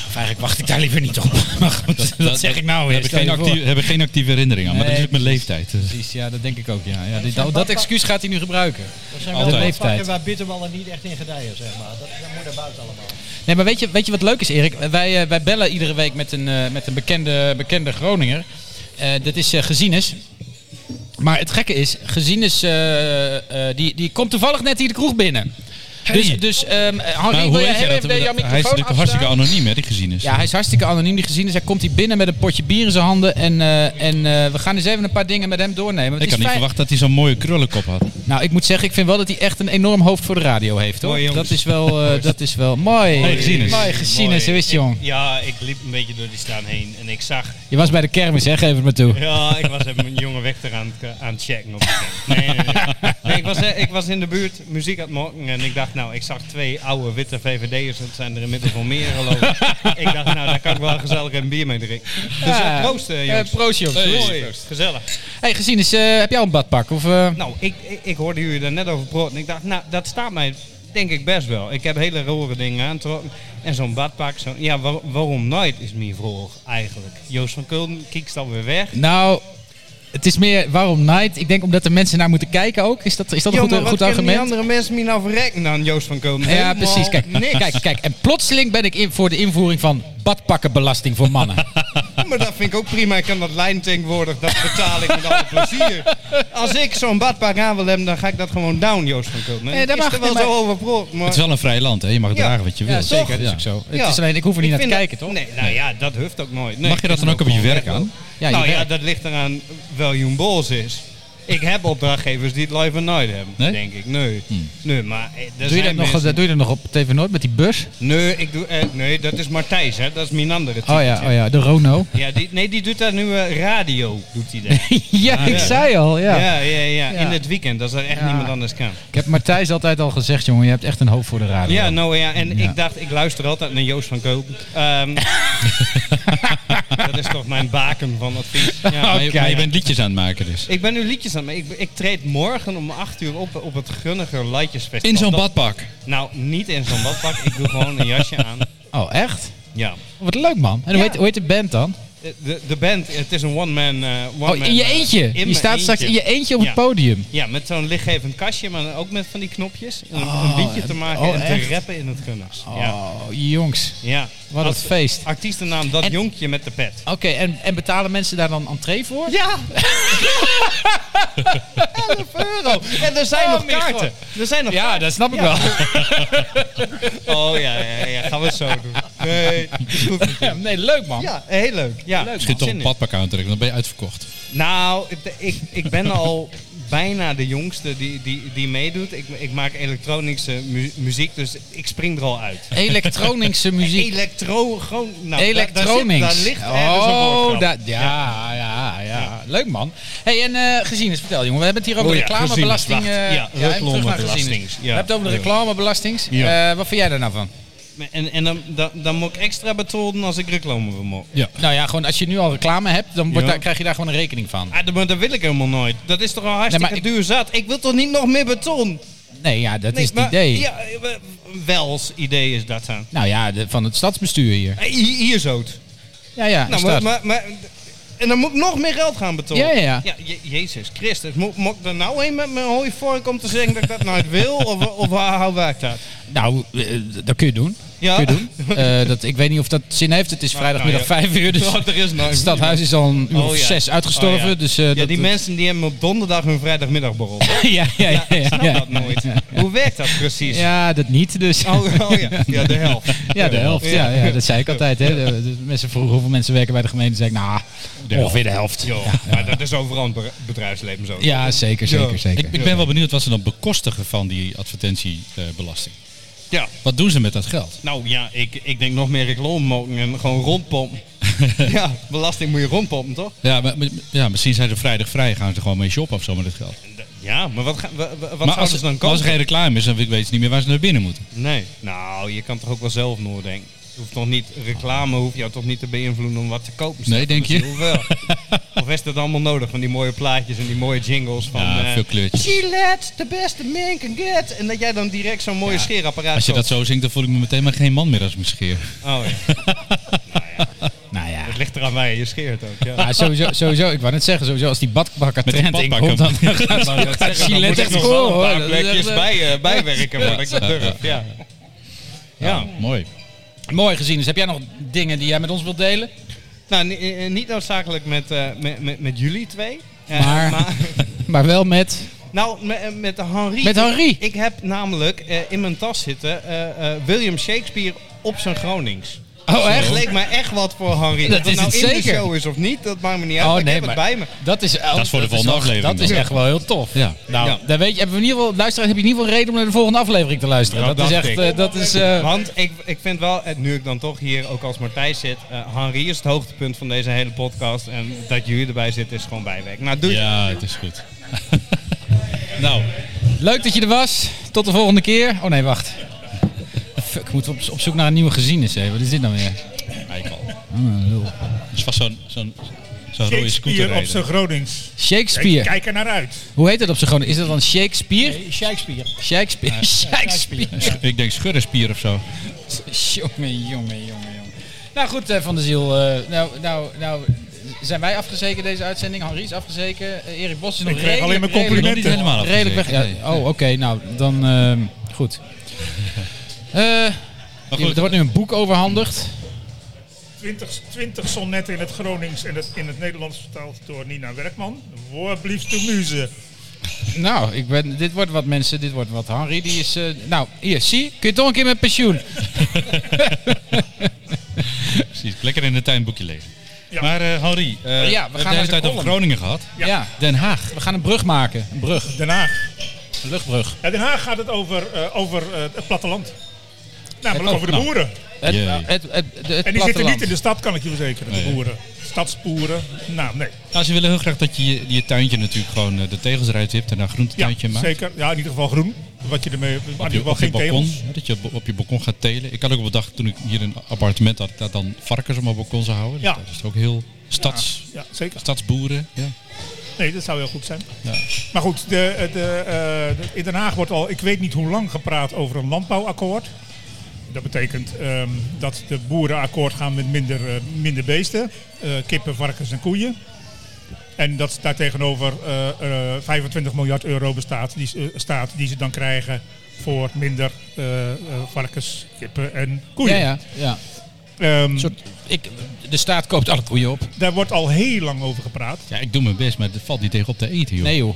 A: Of eigenlijk wacht ik daar liever niet op. Maar goed, dat, zeg ik nou weer.
C: Heb ik geen, actieve, heb ik geen actieve herinnering aan, maar dat is
A: Nee,
C: ook mijn leeftijd. Dus-
A: Precies, ja, dat denk ik ook. Ja. Ja, dit- dat, dat excuus gaat hij nu gebruiken.
D: Er zijn
A: Altijd.
D: wel
A: Leeftijd.
D: badpakken waar bitterballen niet echt in gedijen, zeg maar. Dat, dat moet er buiten allemaal.
A: Nee, maar weet je, weet je wat leuk is, Erik? Wij, eh, wij bellen iedere week met een, eh, met een bekende, bekende Groninger. Eh, dat is eh Gezienes. Maar het gekke is, Gezienes eh, eh, die, die komt toevallig net hier de kroeg binnen. Dus, dus ehm Henri, wil
C: Maar Nou, hoe
A: jij
C: weet je
A: heel
C: dat?
A: even jouw
C: Hij is
A: microfoon
C: natuurlijk hartstikke
A: afstaan?
C: anoniem, hè, die gezien is.
A: Ja, hij is hartstikke anoniem die gezien is. Hij komt hier binnen met een potje bier in zijn handen. En, eh, en eh, we gaan eens even een paar dingen met hem doornemen. Want
C: ik
A: het
C: had
A: is
C: niet
A: vijf-
C: verwacht dat hij zo'n mooie krullenkop had.
A: Nou, ik moet zeggen, ik vind wel dat hij echt een enorm hoofd voor de radio heeft. Hoor.
I: Mooi, jongens.
A: dat, is wel, eh, dat is wel mooi.
I: Mooi
C: Gezienes.
A: Mooi Gezienes, zo is het,
I: Ik-
A: jong.
I: Ja, ik liep een beetje door die staan heen en ik zag...
A: Je was bij de kermis, hè? Geef het me toe.
I: Ja, ik was even mijn jonge weg aan, het- eh, aan het checken. Op de kerk. nee, nee, nee. nee ik, was, eh, ik was in de buurt muziek aan het maken en ik dacht, nou, ik zag twee oude witte VVD'ers. Dat zijn er inmiddels wel meer geloof ik. ik dacht, nou, daar kan ik wel gezellig een bier mee drinken. Dus ja, proost, eh, jongens.
A: Ah. Proost, jongens.
I: Mooi, gezellig.
A: Hey, gezien is, eh, heb jij al een badpak? Of, eh,
I: Nou, ik, ik, ik hoorde jullie daar net over praten en ik dacht, nou, dat staat mij denk ik best wel. Ik heb hele rare dingen aantrokken en zo'n badpak, zo, ja, waar- waarom nooit is mijn vroeg eigenlijk. Joost van Kulden kijkt alweer weg.
A: nou, het is meer waarom Night. Ik denk omdat de mensen naar moeten kijken ook. Is dat, is dat een
I: Yo,
A: goed, eh,
I: maar
A: goed
I: wat kunnen die
A: argument?
I: andere mensen me nou verrekken dan Joost van Komen?
A: Ja, precies. Kijk,
I: niks.
A: kijk, kijk. En plotseling ben ik in voor de invoering van badpakkenbelasting voor mannen.
I: Maar dat vind ik ook prima. Ik kan dat lijn tegenwoordig. Dat betaal ik met alle plezier. Als ik zo'n badpak aan wil hebben, dan ga ik dat gewoon down, Joost van Kulpen.
A: Nee, dat
I: Ik is
A: mag
I: er wel
A: niet,
I: zo
A: maar-
I: over pro- maar-
C: Het is wel een vrij land, hè? Je mag
I: Ja.
C: dragen wat je wilt.
A: ja, zeker. Dat is
C: Ja.
A: ook zo.
I: Ja.
A: Het is alleen, ik hoef er niet naar te
I: vind dat-
A: kijken, toch?
I: Nee, nou ja, dat hoeft ook nooit. Nee,
C: Mag je dat
I: ik
C: dan ook op je
I: gewoon
C: werk
I: weg,
C: aan?
I: hoor.
A: Ja, je
I: nou ja,
A: werk.
I: dat ligt eraan welke Bols is. Ik heb opdrachtgevers die het live and night hebben,
C: Nee?
I: denk ik. Nee, nee maar... eh, er
A: Hm. Doe je, dat
I: zijn
A: nog,
I: mensen-
A: doe je dat nog op TV Noord met die bus?
I: Nee, ik doe, eh, nee, dat is Martijs, hè. Dat is mijn andere
A: Oh ja, oh ja de Rono.
I: Ja, die, nee, die doet daar nu eh, radio, doet hij dat.
A: ja, ik zei al, ja.
I: Ja. Ja, ja,
A: Ja.
I: in het weekend, als er echt
A: Ja.
I: niemand anders kan.
A: Ik heb Martijs altijd al gezegd, jongen, je hebt echt een hoofd voor de radio.
I: Ja, nou ja, en
A: Ja.
I: ik dacht, ik luister altijd naar Joost van Koop. Ehm, dat is toch mijn baken van advies. Ja,
C: Maar, je, maar je
I: ja.
C: bent liedjes aan het maken dus.
I: Ik ben nu liedjes aan het maken. Ik, ik treed morgen om 8 uur op op het Gunniger Lightjesfestival.
C: In zo'n
I: Dat-
C: badpak.
I: Nou, niet in zo'n badpak. ik doe gewoon een jasje aan.
A: Oh, echt?
I: Ja.
A: Wat leuk, man. En hoe,
I: Ja.
A: heet, hoe heet de band dan?
I: De- De, de band, het is een one-man... eh, one
A: Oh, in je
I: man, eh,
A: eentje.
I: in
A: Je
I: mijn
A: staat straks in
I: eentje.
A: je eentje op het
I: Ja.
A: podium.
I: Ja, met zo'n lichtgevend kastje, maar ook met van die knopjes. Een,
A: Oh,
I: een liedje te maken
A: oh,
I: en
A: echt?
I: te rappen in het Gunners. Ja.
A: Oh, jongens.
I: ja.
A: Wat een
I: Als-
A: feest.
I: Artiestennaam Dat
A: En-
I: Jonkje met de pet.
A: Oké, en, en betalen mensen daar dan entree voor?
I: Ja! 11 euro! En er zijn
A: Oh,
I: nog
A: mijn
I: kaarten. Er zijn nog
A: Ja,
I: kaarten.
A: dat snap ik wel.
I: Oh ja, ja, ja, gaan we het zo doen. Nee, is goed.
A: nee, leuk man.
I: Ja, heel leuk. Ja,
C: Schiet toch
I: zin
C: een
I: in.
C: badpak aantrekken, dan ben je uitverkocht.
I: Nou, het- ik, ik ben al bijna de jongste die, die, die meedoet. Ik, ik maak elektronische mu- muziek, dus ik spring er al uit.
A: Elektronische muziek.
I: Elektro, gewoon, nou,
A: Electronics.
I: Daar, daar zit, daar ligt ergens een
A: oh,
I: woordgrap.
A: da- ja, ja, ja. Leuk man. hey, en eh gezien is, vertel jongen. We hebben het hier over
I: Oh ja,
A: reclamebelasting.
I: gezien is,
A: eh,
I: wacht. Ja,
A: even terug naar
I: reclamebelastings,
A: gezien is.
I: ja.
A: We hebben het over de reclamebelastings.
I: Ja.
A: Eh, wat vind jij daar nou van?
I: En, en dan, dan, dan moet ik extra betolden als ik reclame wil maken.
C: Ja.
A: Nou ja, gewoon als je nu al reclame hebt, dan wordt
I: Ja.
A: daar, krijg je daar gewoon een rekening van.
I: Ah, dat- maar dat wil ik helemaal nooit. Dat is toch al hartstikke
A: Nee, maar
I: duur zat. Ik wil toch niet nog meer beton?
A: Nee, ja, dat
I: Nee,
A: is het
I: maar-
A: idee.
I: Ja, eh, we- wels idee is dat dan.
A: Nou ja, de- van het stadsbestuur hier.
I: Eh, Hier, hier zo.
A: Ja, ja.
I: Nou,
A: stad.
I: maar, maar, maar- en dan moet ik nog meer geld gaan betalen.
A: Ja, ja, ja.
I: je- Jezus Christus, moet, moet ik er nou heen met mijn hooivork om te zeggen dat ik dat nooit wil? Of, of waar hou ik dat?
A: Nou, eh, dat kun je doen.
I: Ja.
A: Kun je doen. Eh, dat, ik weet niet of dat zin heeft. Het is vrijdagmiddag
I: nou
A: 5 uur, dus
I: Nou, er is nooit
A: het stadhuis is al een uur
I: Oh,
A: of
I: ja.
A: zes uitgestorven.
I: Oh, ja.
A: Dus, eh,
I: Ja,
A: dat,
I: die mensen die hebben op donderdag hun vrijdagmiddagborrel.
A: ja, ja, ja, ja,
I: Ik snap
A: ja.
I: dat nooit. Hoe werkt dat precies?
A: Ja, dat niet dus.
I: Oh, oh ja. ja, de helft.
A: Ja, de helft. Ja, ja, dat zei ik altijd. Hè. De, de mensen vroegen hoeveel mensen werken bij de gemeente. zei ik, nou, ongeveer de helft.
I: Joh, Maar dat is overal in het be- bedrijfsleven zo.
A: Ja, zeker, zeker,
I: Ja.
A: zeker.
C: Ik, ik ben wel benieuwd wat ze dan bekostigen van die advertentiebelasting.
I: Ja.
C: Wat doen ze met dat geld?
I: Nou ja, ik, ik denk nog meer reclame maken en gewoon rondpompen. ja, belasting moet je rondpompen, toch?
C: Ja, maar, maar- ja, misschien zijn ze vrijdag vrij, gaan ze gewoon mee shoppen of zo met het geld.
I: Ja, maar wat, ga, wa- wa- wat
C: maar
I: zouden
C: als,
I: ze dan
C: maar als
I: kopen?
C: er geen reclame is, dan weet ze niet meer waar ze naar binnen moeten.
I: Nee. Nou, je kan toch ook wel zelf doordenken. Je hoeft toch niet, reclame hoeft jou toch niet te beïnvloeden om wat te kopen. Dus Stefan,
C: denk je?
I: misschien Hoewel. of is dat allemaal nodig van die mooie plaatjes en die mooie jingles van...
C: Ja,
I: eh,
C: veel kleurtjes.
I: Gillette, the best a man can get. En dat jij dan direct zo'n mooie scheerapparaat
C: Als je dat
I: koopt.
C: zo zingt, dan voel ik me meteen maar geen man meer als ik me scheer.
I: Oh ja,
A: Nou ja.
I: het ligt eraan waar je je scheert ook. Ja.
A: Maar sowieso, sowieso, ik wou net zeggen, sowieso als die badbakker
C: Met die
A: trend inkomt, dan
C: badbakker.
A: gaat
I: Dan moet
A: Gillette
I: ik
A: echt
I: nog wel
A: cool.
I: een paar plekjes bij, eh, bijwerken voordat ik dat durf. Ja. Ja.
C: Mooi.
A: Mooi gezien. Dus heb jij nog dingen die jij met ons wilt delen?
I: Nou, ni- eh, niet noodzakelijk met, eh, met, met, met jullie twee. Eh,
A: Maar- Maar wel met...
I: nou, me- eh, met Henri.
A: Met Henri?
I: Ik heb namelijk eh, in mijn tas zitten eh, eh, William Shakespeare op zijn Gronings. Dus
A: Oh,
I: Het
A: echt?
I: leek mij echt wat voor Henri.
A: Dat
I: of
A: is
I: nou
A: het
I: in
A: zeker.
I: de show is of niet, dat maakt me niet uit.
A: Oh,
I: ik
A: nee,
I: heb
A: maar-
I: het bij me.
A: Dat is,
C: Dat is voor de volgende aflevering
A: Dat is
C: dan.
A: echt wel heel tof.
C: Ja.
A: Nou,
I: Ja.
A: dan weet je, hebben we in ieder geval, luisteraar, heb je in ieder geval reden om naar de volgende aflevering te luisteren.
I: Ja,
A: dat, is
I: dacht
A: echt,
I: ik.
A: eh, dat is... eh,
I: Want ik, ik vind wel, eh, nu ik dan toch hier ook als Martijn zit, eh Henri is het hoogtepunt van deze hele podcast. En dat jullie erbij zitten is gewoon bijwerk. Nou, doe
C: Ja, het is goed.
I: Nou,
A: Leuk dat je er was. Tot de volgende keer. Oh nee, wacht. Fuck, moeten we op, op zoek naar een nieuwe gezienis. Hè. Wat is dit nou weer?
C: Eikel. Dat is vast zo'n zo'n zo'n rode scooter
E: Shakespeare op zijn
C: rijden.
E: Gronings.
A: Shakespeare.
E: Kijk, kijk er naar uit.
A: Hoe heet dat op zijn gewoon? Is dat dan Shakespeare?
D: Nee, Eh, Shakespeare.
A: Shakespeare. Shakespeare.
C: Ik denk schurrespier of zo.
A: Jongen, jongen, jongen, jongen. Nou goed, eh, Van der Ziel. eh, nou, nou, nou, zijn wij afgezeken deze uitzending. Henri is afgezeken. eh, Erik Bos is nog
E: Ik krijg alleen maar
A: redelijk-
E: complimenten.
A: redelijk-
C: Nog niet helemaal
A: Redelijk weg.
C: afgezeken,
A: ja. oh, oké. nou, dan ehm, goed. Eh,
C: goed.
A: Er wordt nu een boek overhandigd.
E: 20, 20 sonnetten in het Gronings en het, in het Nederlands vertaald door Nina Werkman. Woordblieft de muze.
A: Nou, ik ben, dit wordt wat mensen, dit wordt wat. Henri, die is... eh, nou, hier, zie, kun je toch een keer met pensioen.
C: Precies, lekker in het tuinboekje lezen.
E: Ja.
C: Maar eh Henri, eh, we
A: naar
C: hebben de
A: zijn
C: hele tijd over
A: column.
C: Groningen gehad.
A: Ja.
C: Den Haag.
A: we gaan een brug maken. Een brug,
E: Den Haag.
A: een luchtbrug.
E: Ja, Den Haag gaat het over, eh, over eh, het platteland. Namelijk
C: Oh,
E: over de
C: nou.
E: boeren.
A: Het,
C: Jee.
A: het, het, het,
E: En die zitten niet in de
A: platteland.
E: stad, kan ik je verzekeren. De
C: Nee.
E: boeren. Stadsboeren. Nou, nee.
C: Nou, ze willen heel graag dat je je, je tuintje natuurlijk gewoon eh, de tegels eruit hebt en daar een
E: Ja,
C: groentetuintje maakt.
E: zeker. Ja, in ieder geval groen. Wat je ermee... Maar
C: Op
E: in
C: je,
E: ieder geval
C: op je
E: geen
C: balkon,
E: tegels.
C: hè, dat je op- op je balkon gaat telen. Ik had ook op een dag toen ik hier een appartement had, dat dan varkens op mijn balkon zou houden. Dus
E: Ja.
C: Dat is ook heel stads,
E: Ja, zeker.
C: stadsboeren. Ja.
E: Nee, dat zou heel goed zijn.
C: Ja.
E: Maar goed, de, de, eh, de- in Den Haag wordt al, ik weet niet hoe lang, gepraat over een landbouwakkoord. Dat betekent ehm, dat de boeren akkoord gaan met minder, eh, minder beesten. eh, kippen, varkens en koeien. En dat daartegenover eh, eh, 25 miljard euro bestaat, die, ze- eh, staat die ze dan krijgen voor minder eh, eh, varkens, kippen en
A: Ja,
E: koeien.
A: ja, ja.
E: Ehm,
A: Een soort, ik, de staat koopt alle koeien op.
E: daar wordt al heel lang over gepraat.
C: ja, ik doe mijn best, maar het valt niet tegen op te eten, joh.
A: Nee joh.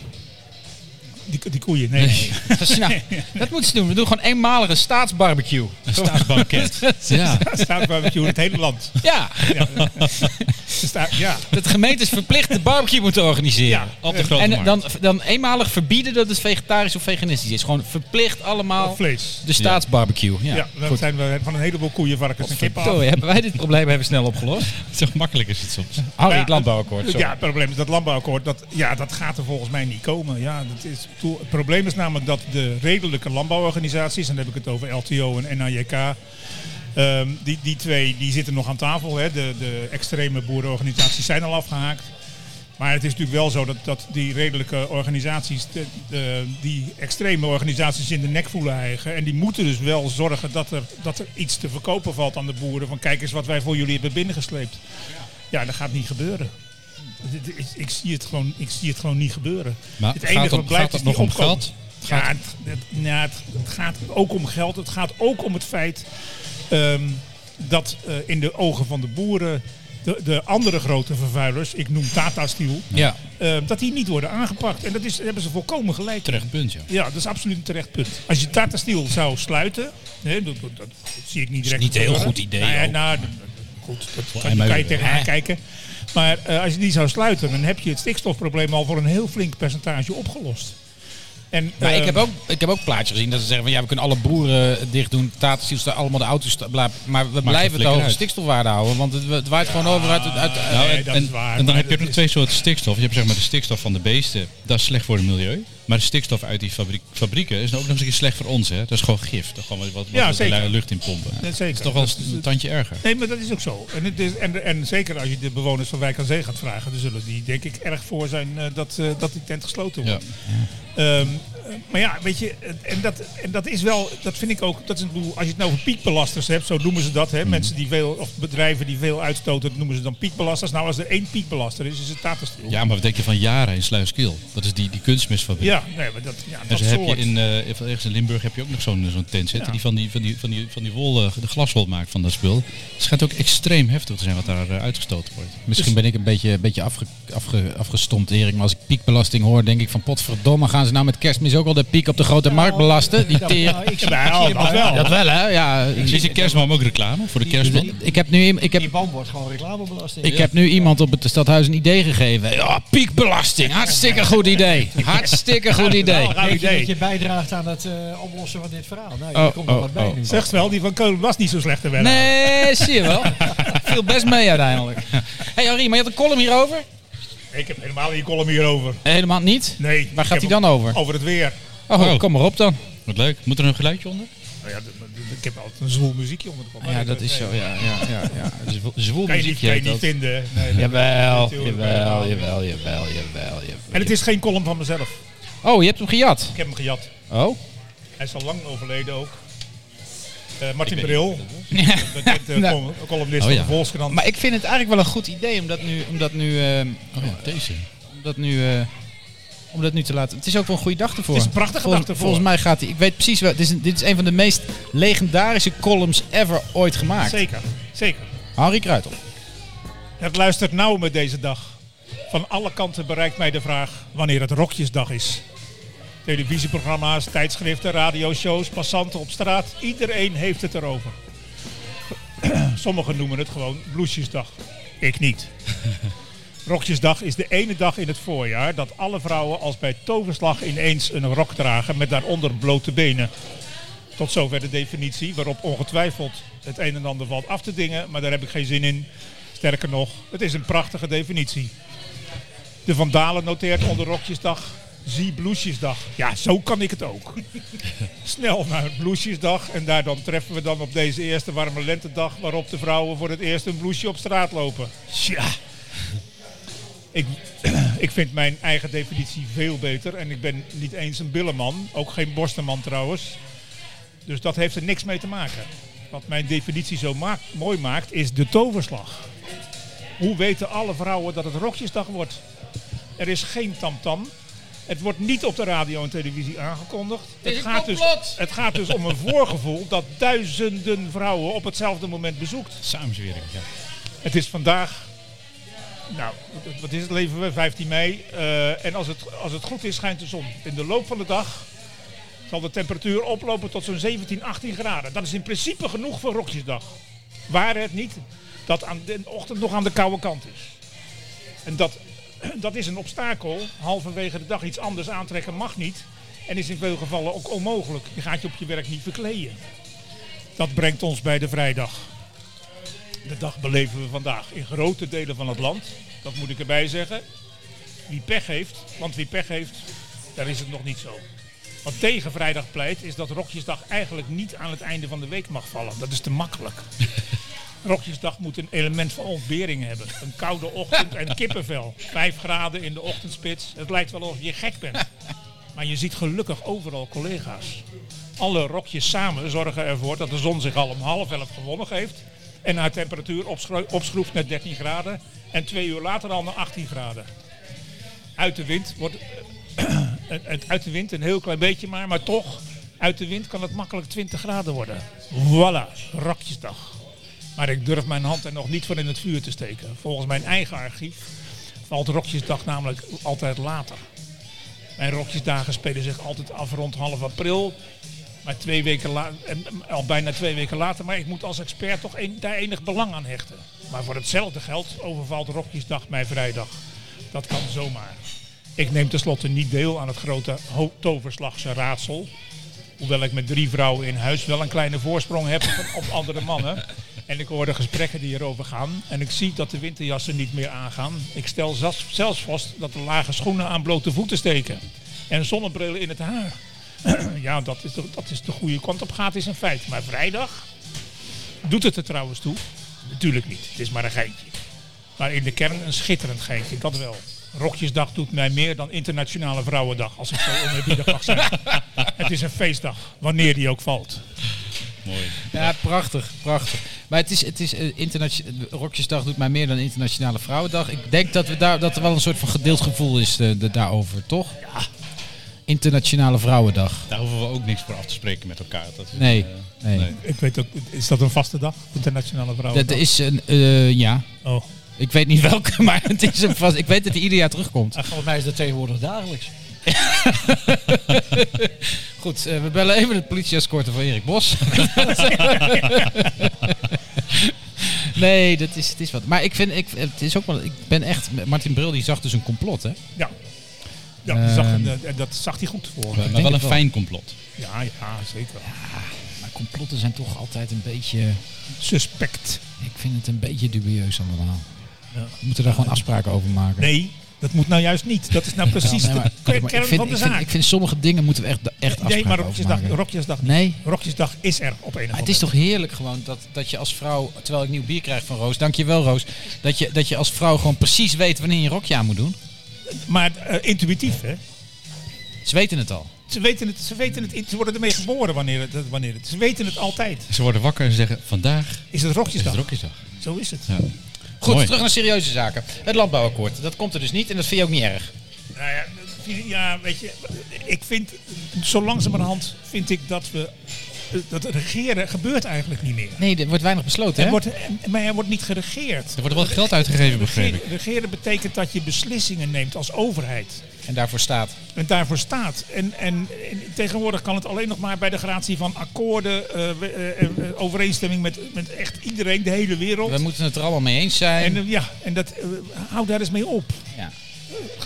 E: Die, die koeien, nee. nee.
A: Dat, is nou, dat moeten ze doen. We doen gewoon eenmalige staatsbarbecue.
C: Een staatsbanket. ja.
E: staat barbecue in het hele land.
A: Ja,
E: Er staat- ja.
A: dat gemeente is verplicht de barbecue moeten organiseren.
E: Ja,
C: Op de grote
A: En
C: markt.
A: dan, dan eenmalig verbieden dat het vegetarisch of veganistisch is. Gewoon verplicht allemaal
E: Of vlees.
A: de staatsbarbecue. Ja,
E: Ja, dan
A: goed.
E: zijn we van een heleboel koeien, varkens en kippen af.
A: Sorry, hebben wij dit probleem hebben snel opgelost?
C: Zo makkelijk is het soms.
A: Harry,
E: Ja.
A: het Oh, landbouwakkoord. sorry.
E: Ja, het probleem is dat landbouwakkoord, dat, ja, dat gaat er volgens mij niet komen. Ja, dat is, het probleem is namelijk dat de redelijke landbouworganisaties, en dan heb ik het over LTO en NAJK, ehm, die, die twee die zitten nog aan tafel. Hè. De, de extreme boerenorganisaties zijn al afgehaakt. Maar het is natuurlijk wel zo dat, dat die redelijke organisaties de, de- die extreme organisaties in de nek voelen eigen. En die moeten dus wel zorgen dat er, dat er iets te verkopen valt aan de boeren. Van kijk eens wat wij voor jullie hebben binnengesleept. Ja, dat gaat niet gebeuren. Dit is- Ik zie het gewoon, ik zie het gewoon niet gebeuren.
C: Maar
E: het
C: gaat, het, gaat het
E: die
C: nog om
E: opkoop.
C: geld?
E: Ja, het, het- nou, het, het gaat ook om geld. Het gaat ook om het feit ehm, dat eh, in de ogen van de boeren de, de andere grote vervuilers, ik noem Tata Steel,
A: Ja.
E: ehm, dat die niet worden aangepakt. En dat is, daar hebben ze volkomen gelijk.
C: Terecht punt, ja.
E: Ja, dat is absoluut een terecht punt. Als je Tata Steel zou sluiten, hè, dat, dat, dat zie ik niet direct.
A: niet een heel
E: gebeuren.
A: goed idee
E: Nou, ja,
A: ook.
E: nou, goed, dat kan,
C: mij
E: kan je
C: weer,
E: tegenaan kijken. Maar eh, als je die zou sluiten, dan heb je het stikstofprobleem al voor een heel flink percentage opgelost. En,
A: Maar ik
E: ehm,
A: heb ook, ik heb ook plaatjes gezien dat ze zeggen van ja, we kunnen alle boeren dicht doen, Tata Steel staan allemaal de auto's, sta- bla, maar we blijven de
C: flikker
A: hoge
C: uit.
A: stikstofwaarde houden, want het, het waait gewoon over uit, uit, uit-
E: Nou,
C: en,
E: dat
C: en-
E: is waar,
C: en dan
E: maar
C: heb je ook
E: dat
C: nog
E: is-
C: twee soorten stikstof. Je hebt zeg maar de stikstof van de beesten, dat is slecht voor het milieu. Maar de stikstof uit die fabriek, fabrieken is ook nog eens een keer slecht voor ons. Hè? Dat is gewoon gif. Dat is gewoon wat, wat
E: Ja,
C: we
E: zeker.
C: de lucht in pompen.
E: Ja,
C: Dat is
E: zeker.
C: toch wel
E: Dat is-
C: een tandje erger.
E: Nee, maar dat is ook zo. En, het is, en, en zeker als je de bewoners van Wijk aan Zee gaat vragen, dan zullen die denk ik erg voor zijn eh, dat, eh, dat die tent gesloten
C: Ja.
E: wordt. Ehm, eh, maar ja, weet je, eh, en dat, en dat is wel, dat vind ik ook, dat is een boel, als je het nou over piekbelasters hebt, zo noemen ze dat, hè,
A: Mhm.
E: mensen die veel, of bedrijven die veel uitstoten, dat noemen ze dan piekbelasters. Nou, als er één piekbelaster is, is het Tata Steel.
C: ja, maar wat denk je van Jaren in Sluiskil? Dat is die, die kunstmestfabriek.
E: Ja, nee, maar dat, ja,
A: Dus
C: En
E: dat
C: zo heb je
E: soort.
C: in, eh, ergens in Limburg heb je ook nog zo'n eh, zo'n tent zitten
E: Ja.
C: die van die, van die, van die, van die wol, eh, de glaswol maakt van dat spul. Het schijnt ook extreem heftig te zijn wat daar eh, uitgestoten wordt.
A: Misschien ben ik een beetje, een beetje afge, afge, afgestompt, Erik. Maar als ik piekbelasting hoor, denk ik van potverdomme, gaan ze nou met kerstmis ook al de piek op de grote markt belasten? Die teer.
D: Nou, ik zie,
E: Ja,
D: ik zie
E: dat
D: hem al.
E: wel.
A: Dat wel, hè? Ja.
C: Is de kerstman ook reclame voor de kerstman?
A: Ik heb nu, ik
D: Die
A: heb,
D: boom wordt gewoon reclamebelasting.
A: ik heb nu iemand op het stadhuis een idee gegeven. Ja, piekbelasting. Hartstikke goed idee. Hartstikke goed idee.
C: nou,
E: Raar
D: Denk je
E: idee.
D: dat je bijdraagt aan het eh, oplossen van dit verhaal? Nou, je
A: Oh,
D: komt er
A: oh,
D: wat bij
A: oh.
D: nu.
E: Zegt wel, die van Keulen was niet zo slecht te werken.
A: Nee, zie je wel. Viel best mee uiteindelijk. hey, Harry, maar je had een column hierover?
E: Ik heb helemaal geen column hierover.
A: Helemaal niet.
E: Nee.
A: Waar
E: ik
A: gaat
E: heb
A: hij dan over?
E: Over het weer.
A: Oh,
C: Oh.
A: kom maar op dan.
C: Wat leuk. Moet er een geluidje onder?
E: Nou ja, d- d- ik heb altijd een zwoel muziekje onder de kop.
A: Ah Ja, dat is zo. Ja, ja, ja. ja.
C: Zwo- Zwoel
E: Kan je niet,
C: muziekje
E: kan je
C: heet
E: niet
C: dat.
E: vinden. Nee, dat-
A: Jawel,
E: Natuurlijk.
A: jawel, jawel, jawel, jawel, jawel.
E: En het is geen column van mezelf.
A: Oh, je hebt hem gejat.
E: Ik heb hem gejat.
A: Oh?
E: Hij is al lang overleden ook. Eh, Martin Bril, dat is de
A: Nou.
E: col- columnist
C: Oh, ja.
E: van de Volkskrant.
A: Maar ik vind het eigenlijk wel een goed idee om dat nu, om dat nu, eh,
C: Oh ja, deze.
A: om dat nu, eh, om dat nu te laten. Het is ook wel een goede dag ervoor.
E: Het is een prachtige
A: Volgens-
E: dag ervoor.
A: Volgens mij gaat hij. Ik weet precies wel. Dit is, een- dit is een van de meest legendarische columns ever ooit gemaakt.
E: Zeker, zeker.
A: Harry Kruitel.
E: Het luistert nauw met deze dag. Van alle kanten bereikt mij de vraag wanneer het rokjesdag is. Televisieprogramma's, tijdschriften, radioshows, passanten op straat. Iedereen heeft het erover. Sommigen noemen het gewoon bloesjesdag. Ik niet. Rokjesdag is de ene dag in het voorjaar dat alle vrouwen als bij toverslag ineens een rok dragen met daaronder blote benen. Tot zover de definitie, waarop ongetwijfeld het een en ander valt af te dingen, maar daar heb ik geen zin in. Sterker nog, het is een prachtige definitie. De Vandalen noteert onder Rokjesdag, zie Bloesjesdag. Ja, zo kan ik het ook. Snel naar Bloesjesdag en daar dan treffen we dan op deze eerste warme lentedag waarop de vrouwen voor het eerst een bloesje op straat lopen. Tja. Ik, ik vind mijn eigen definitie veel beter en ik ben niet eens een billenman, ook geen borstenman trouwens. Dus dat heeft er niks mee te maken. Wat mijn definitie zo maak- mooi maakt, is de toverslag. Hoe weten alle vrouwen dat het Rokjesdag wordt? Er is geen tamtam. Het wordt niet op de radio en televisie aangekondigd. Het gaat, dus, het gaat dus om een voorgevoel dat duizenden vrouwen op hetzelfde moment bezoekt.
C: Samenzwering. Ja.
E: Het is vandaag, nou, wat- wat is het, leven we 15 mei. eh, en als het, als het goed is, schijnt de zon. In de loop van de dag zal de temperatuur oplopen tot zo'n 17, 18 graden. Dat is in principe genoeg voor Rokjesdag. Waar het niet dat aan de ochtend nog aan de koude kant is. En dat, dat is een obstakel. Halverwege de dag iets anders aantrekken mag niet. En is in veel gevallen ook onmogelijk. Je gaat je op je werk niet verkleden. Dat brengt ons bij de vrijdag. De dag beleven we vandaag in grote delen van het land. Dat moet ik erbij zeggen. Wie pech heeft, want wie pech heeft, daar is het nog niet zo. Wat tegen vrijdag pleit, is dat Rokjesdag eigenlijk niet aan het einde van de week mag vallen. Dat is te makkelijk. Rokjesdag moet een element van ontbering hebben. Een koude ochtend en kippenvel. Vijf graden in de ochtendspits. Het lijkt wel of je gek bent. Maar je ziet gelukkig overal collega's. Alle rokjes samen zorgen ervoor dat de zon zich al om half elf gewonnen heeft. En haar temperatuur opschro- opschroeft naar 13 graden. En twee uur later al naar 18 graden. Uit de wind wordt. het- het- uit de wind een heel klein beetje maar, maar toch. Uit de wind kan het makkelijk 20 graden worden. Voilà, rokjesdag. Maar ik durf mijn hand er nog niet voor in het vuur te steken. Volgens mijn eigen archief valt rokjesdag namelijk altijd later. Mijn rokjesdagen spelen zich altijd af rond half april. Maar twee weken la- en, en al bijna twee weken later. Maar ik moet als expert toch een- daar enig belang aan hechten. Maar voor hetzelfde geld overvalt rokjesdag mij vrijdag. Dat kan zomaar. Ik neem tenslotte niet deel aan het grote ho- toverslagse raadsel. Hoewel ik met drie vrouwen in huis wel een kleine voorsprong heb op- op andere mannen. En ik hoor de gesprekken die erover gaan. En ik zie dat de winterjassen niet meer aangaan. Ik stel zelfs, zelfs vast dat de lage schoenen aan blote voeten steken. En zonnebrillen in het haar. ja, dat is, de, dat is de goede kant op gaat, is een feit. Maar vrijdag doet het er trouwens toe. Natuurlijk niet, het is maar een geintje. Maar in de kern een schitterend geintje, dat wel. Rokjesdag doet mij meer dan Internationale Vrouwendag, als ik zo oneerbiedig mag zijn. Het is een feestdag, wanneer die ook valt.
A: Ja, prachtig, prachtig. Maar het is, het is eh, internatio- Rokjesdag doet mij meer dan Internationale Vrouwendag. Ik denk dat, we daar, dat er wel een soort van gedeeld gevoel is eh, da- daarover, toch? Ja. Internationale Vrouwendag.
C: Daar hoeven we ook niks voor af te spreken met elkaar. Dat is,
A: Nee,
C: eh,
A: nee.
C: nee.
E: Ik weet ook, is dat een vaste dag, Internationale
A: Dat
E: Vrouwendag?
A: is een, eh, ja.
E: Oh,
A: Ik weet niet welke, maar het is een vast. Ik weet dat hij ieder jaar terugkomt.
D: En volgens mij is dat tegenwoordig dagelijks.
A: Goed, eh, we bellen even het politieescorte van Erik Bos. nee, dat is, het is wat. Maar ik vind, ik, het is ook wel, ik ben echt, Martin Bril die zag dus een complot, hè?
E: ja. Ja, die zag,
A: Ehm.
E: en, eh, dat zag hij goed voor.
A: Ik
C: Maar
A: denk
C: wel een
A: het wel.
C: fijn complot.
E: Ja, ja, zeker.
A: Maar complotten zijn toch altijd een beetje,
E: Suspect.
A: ik vind het een beetje dubieus allemaal. We moeten daar gewoon afspraken over maken.
E: Nee, dat moet nou juist niet. Dat is nou precies
A: Ja, nee, maar-
E: de
A: maar
E: kern
A: ik vind,
E: van de
A: ik vind-
E: zaak.
A: ik vind sommige dingen moeten we echt, echt afspraken
E: nee, maar
A: over
E: Rokjesdag,
A: maken.
E: Rokjesdag niet.
A: Nee,
E: Rokjesdag is er op een of
A: Maar het is toch
E: andere
A: heerlijk gewoon dat, dat je als vrouw, terwijl ik nieuw bier krijg van Roos, dankjewel Roos, dat je, dat je als vrouw gewoon precies weet wanneer je een rokje aan moet doen.
E: Maar eh, intuïtief, hè?
A: Ze weten het al.
E: Ze weten het, ze weten het, in- ze worden ermee geboren wanneer het, wanneer het. Ze weten het altijd.
C: Ze worden wakker en zeggen, vandaag
E: Is het
C: is het
E: rokjesdag?
C: rokjesdag.
E: Zo is het. Nou
A: Goed,
C: Mooi.
A: terug naar serieuze zaken. Het landbouwakkoord, dat komt er dus niet en dat vind je ook niet erg.
E: Nou ja, ja, weet je, ik vind, zo langzamerhand vind ik dat we, eh, dat regeren gebeurt eigenlijk niet meer.
A: Nee, er wordt weinig besloten,
E: Er
A: hè?
E: wordt, maar er wordt niet geregeerd.
C: Er wordt wel geld uitgegeven, begreep ik.
E: Regeren, regeren betekent dat je beslissingen neemt als overheid.
A: En daarvoor staat.
E: En daarvoor staat. En, en, en tegenwoordig kan het alleen nog maar bij de gratie van akkoorden, eh, we- eh, eh, overeenstemming met, met echt iedereen, de hele wereld.
A: We moeten het er allemaal mee eens zijn.
E: En eh, ja, en dat, eh, hou daar eens mee op.
A: Ja.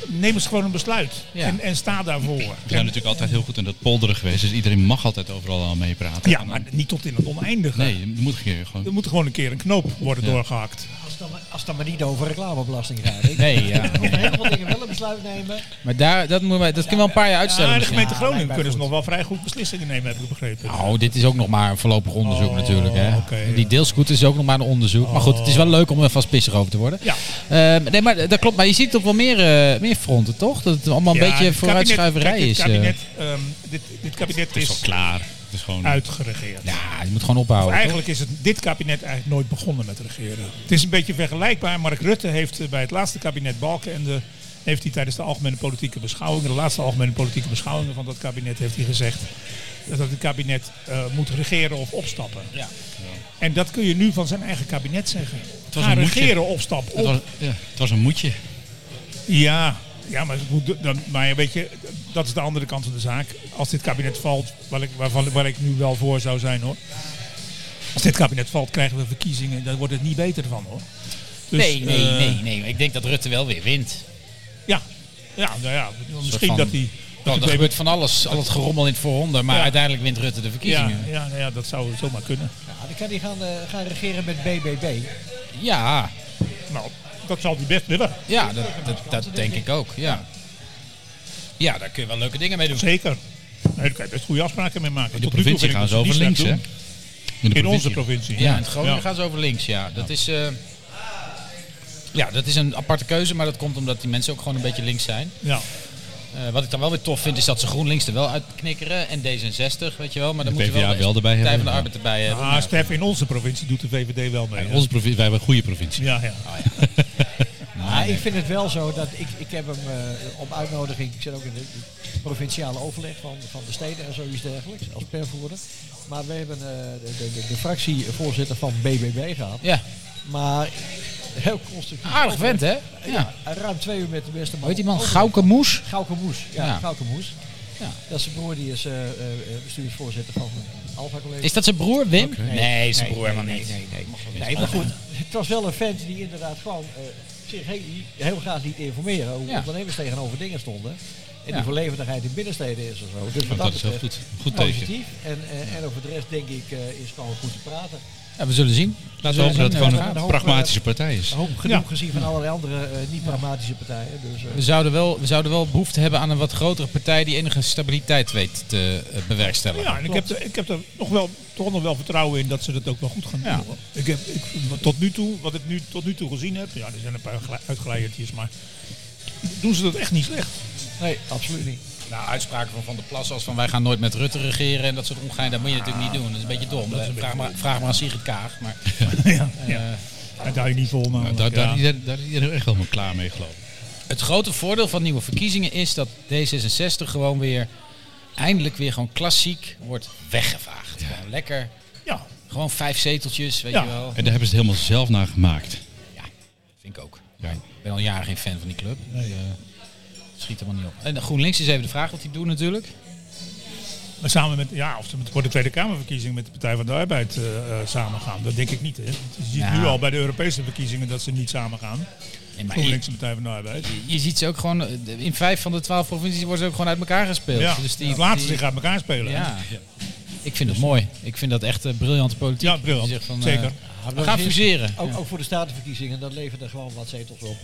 E: Neem eens gewoon een besluit.
A: Ja.
E: En, en sta daarvoor.
C: We zijn natuurlijk altijd heel goed in dat polderen geweest, dus iedereen mag altijd overal aan meepraten.
E: Ja, maar niet tot in het oneindige.
C: Nee, er moet geen gewoon.
E: Er moet gewoon een keer een knoop worden doorgehakt.
D: Als het, dan, maar- als het dan maar niet over reclamebelasting gaat. Ik
A: Nee, ja.
D: moet heel veel dingen wel een besluit nemen.
A: Maar daar, dat, moeten wij, dat kunnen we een paar jaar
E: Ja,
A: uitstellen.
E: Ah, de
A: misschien.
E: gemeente
D: Ja,
E: Groningen
D: lijkt mij
E: kunnen ze
D: goed.
E: nog wel vrij goed beslissingen nemen, heb ik begrepen.
A: Nou, dit is ook nog maar een voorlopig onderzoek
E: Oh,
A: natuurlijk. Hè.
E: oké.
A: Die deelscooter is ook nog maar een onderzoek. Maar goed, het is wel leuk om er vast pissig over te worden.
E: Ja.
A: Ehm, nee, maar dat klopt. Maar je ziet het op wel meer, eh, meer fronten, toch? Dat het allemaal een
E: Ja,
A: beetje
E: dit
A: vooruitschuiverij
E: kabinet-
A: is.
E: kijk,
A: eh.
E: Dit kabinet, ehm, dit, dit kabinet
C: Het is al
E: is
C: klaar. Het is gewoon...
E: uitgeregeerd.
A: ja, je moet gewoon ophouden. toch?
E: Eigenlijk is het, dit kabinet eigenlijk nooit begonnen met regeren. Het is een beetje vergelijkbaar. Mark Rutte heeft eh, bij het laatste kabinet Balkenende... heeft hij tijdens de algemene politieke beschouwingen... de laatste algemene politieke beschouwingen van dat kabinet... heeft hij gezegd dat het kabinet eh, moet regeren of opstappen.
A: Ja.
E: En dat kun je nu van zijn eigen kabinet zeggen. Het
C: was
E: Ga
C: een moedje.
E: regeren, opstap, op.
C: Het was, ja, het was een moedje.
E: Ja, ja maar, het moet- dan, maar weet je, dat is de andere kant van de zaak. Als dit kabinet valt, waar ik, waarvan, waar ik nu wel voor zou zijn hoor. Als dit kabinet valt, krijgen we verkiezingen. Daar wordt het niet beter van hoor. Dus,
A: nee, nee,
E: eh,
A: nee, nee. Ik denk dat Rutte wel weer wint.
E: Ja, ja, nou ja misschien
A: van-
E: dat hij...
A: Want er gebeurt van alles. Al het gerommel in het vooronder. Maar
E: Ja.
A: uiteindelijk wint Rutte de
E: ja,
A: verkiezingen.
E: ja, nou ja, dat zou zomaar kunnen.
D: Ja, dan kan hij gaan, eh, gaan regeren met BBB.
A: Ja,
E: Nou, dat zal hij best willen.
A: ja dat, dat, dat denk ik ook. Ja. ja, daar kun je wel leuke dingen mee doen.
E: Zeker. Nee, daar kan je best goede afspraken mee maken.
C: In de
E: Tot nu toe
C: provincie
E: vind ik
C: gaan ze
E: dat
C: over
E: die
C: links, hè?
E: slecht
C: In,
E: doen.
C: de
E: In onze
C: provincie.
E: provincie.
A: Ja, in het Groningen
E: Ja.
A: gaan ze over links, ja. Dat is... eh, ja, dat is een aparte keuze, maar dat komt omdat die mensen ook gewoon een beetje links zijn.
E: Ja.
A: Eh, wat ik dan wel weer tof vind, is dat ze GroenLinks er wel uitknikkeren en D66, weet je wel. Maar dan
C: De
A: moeten we wel,
C: PvdA wel erbij
A: Partij
C: hebben,
A: van de
C: ja.
A: Arbeid erbij hebben.
E: Ah, Stef, in onze provincie doet de VVD wel mee.
C: In
E: hè?
C: onze provincie. Wij hebben een goede provincie.
E: Ja, ja.
D: Maar ik vind het wel zo dat ik, ik heb hem eh, op uitnodiging, ik zit ook in de provinciale overleg van, van de steden en zoiets dergelijks als pervoerder. Maar we hebben eh, de, de, de, de fractievoorzitter van BBB gehad.
A: Ja,
D: Maar heel constructief.
A: aardig vent, hè? Ja.
D: Ja, ruim twee uur met de beste man.
A: Weet die man
D: overleg.
A: Gauke Moes?
D: Gauke Moes, ja,
A: Ja.
D: Gauke Moes.
A: Ja.
D: Dat is zijn broer, die is eh, eh, eh, bestuursvoorzitter van Alpha College.
A: Is dat zijn broer, Wim?
D: Nee.
A: zijn broer
D: nee,
A: helemaal
D: nee,
A: niet.
D: Nee, nee, nee. maar goed, het was wel een vent die inderdaad gewoon eh, zich heel, heel graag liet informeren hoe
A: Ja.
D: ondernemers tegenover dingen stonden. En
A: Ja.
D: die voorlevendigheid in binnensteden is of zo. Dus
C: Dat,
D: wat dat
C: is Nou, heel
D: betreft
C: goed. Goed teken.
D: positief. En, eh, en over de rest denk ik eh, is gewoon goed te praten.
A: Ja, we zullen zien.
C: Laten we hopen dat het
A: Ja,
C: gewoon
A: ja,
C: een
D: ja.
C: pragmatische partij is.
D: Een hoop genoeg
E: Ja.
D: gezien van allerlei andere eh, niet-pragmatische partijen. Dus, eh,
A: We zouden, wel, we zouden wel behoefte hebben aan een wat grotere partij die enige stabiliteit weet te eh, bewerkstelligen.
E: Ja, en ik heb, er- ik heb er nog wel, toch nog wel vertrouwen in dat ze dat ook wel goed gaan doen.
A: Ja.
E: hoor. Ik heb, ik, wat tot nu toe, wat ik nu, tot nu toe gezien heb, ja, er zijn een paar gla- uitgeleiertjes, maar doen ze dat echt niet slecht.
D: nee, absoluut niet.
A: Nou, uitspraken van Van der Plas als van wij gaan nooit met Rutte regeren en dat soort ongein, dat moet je natuurlijk niet doen. Dat is een beetje dom. Eh, vraag, maar, vraag maar aan Sigrid Kaag. Maar,
E: ja, ja. Daar hou je niet vol, maar...
C: Nou, daar,
E: ja.
C: daar, daar, daar is iedereen echt helemaal klaar mee, geloof ik.
A: Het grote voordeel van nieuwe verkiezingen is dat D66 gewoon weer eindelijk weer gewoon klassiek wordt weggevaagd. Gewoon lekker,
E: ja,
A: gewoon vijf zeteltjes, weet
E: Ja.
A: je wel.
C: En daar hebben ze het helemaal zelf naar gemaakt.
A: Ja, vind ik ook.
C: Ja.
A: Ik ben al jaren geen fan van die club. Dus, eh, het schiet helemaal niet op. En GroenLinks is even de vraag wat die doen natuurlijk.
E: maar samen met, ja, of ze met- voor de Tweede Kamerverkiezing met de Partij van de Arbeid eh, eh, samen gaan, dat denk ik niet. Hè. Je ziet
A: Ja.
E: nu al bij de Europese verkiezingen dat ze niet samen gaan.
A: Nee, maar je,
E: GroenLinks en Partij van de Arbeid.
A: je ziet ze ook gewoon, eh, in vijf van de twaalf provincies worden ze ook gewoon uit elkaar gespeeld.
E: Ja,
A: dus die,
E: het laten
A: die-
E: zich uit elkaar spelen. hè.
A: Ja. Ik vind het mooi. Ik vind dat echt eh, briljante politiek.
E: Ja, briljant.
A: Die zegt van, eh,
E: Zeker.
A: we gaan fuseren.
E: Oh.
D: Ook, ook voor de statenverkiezingen, dat leverde gewoon wat zetels op.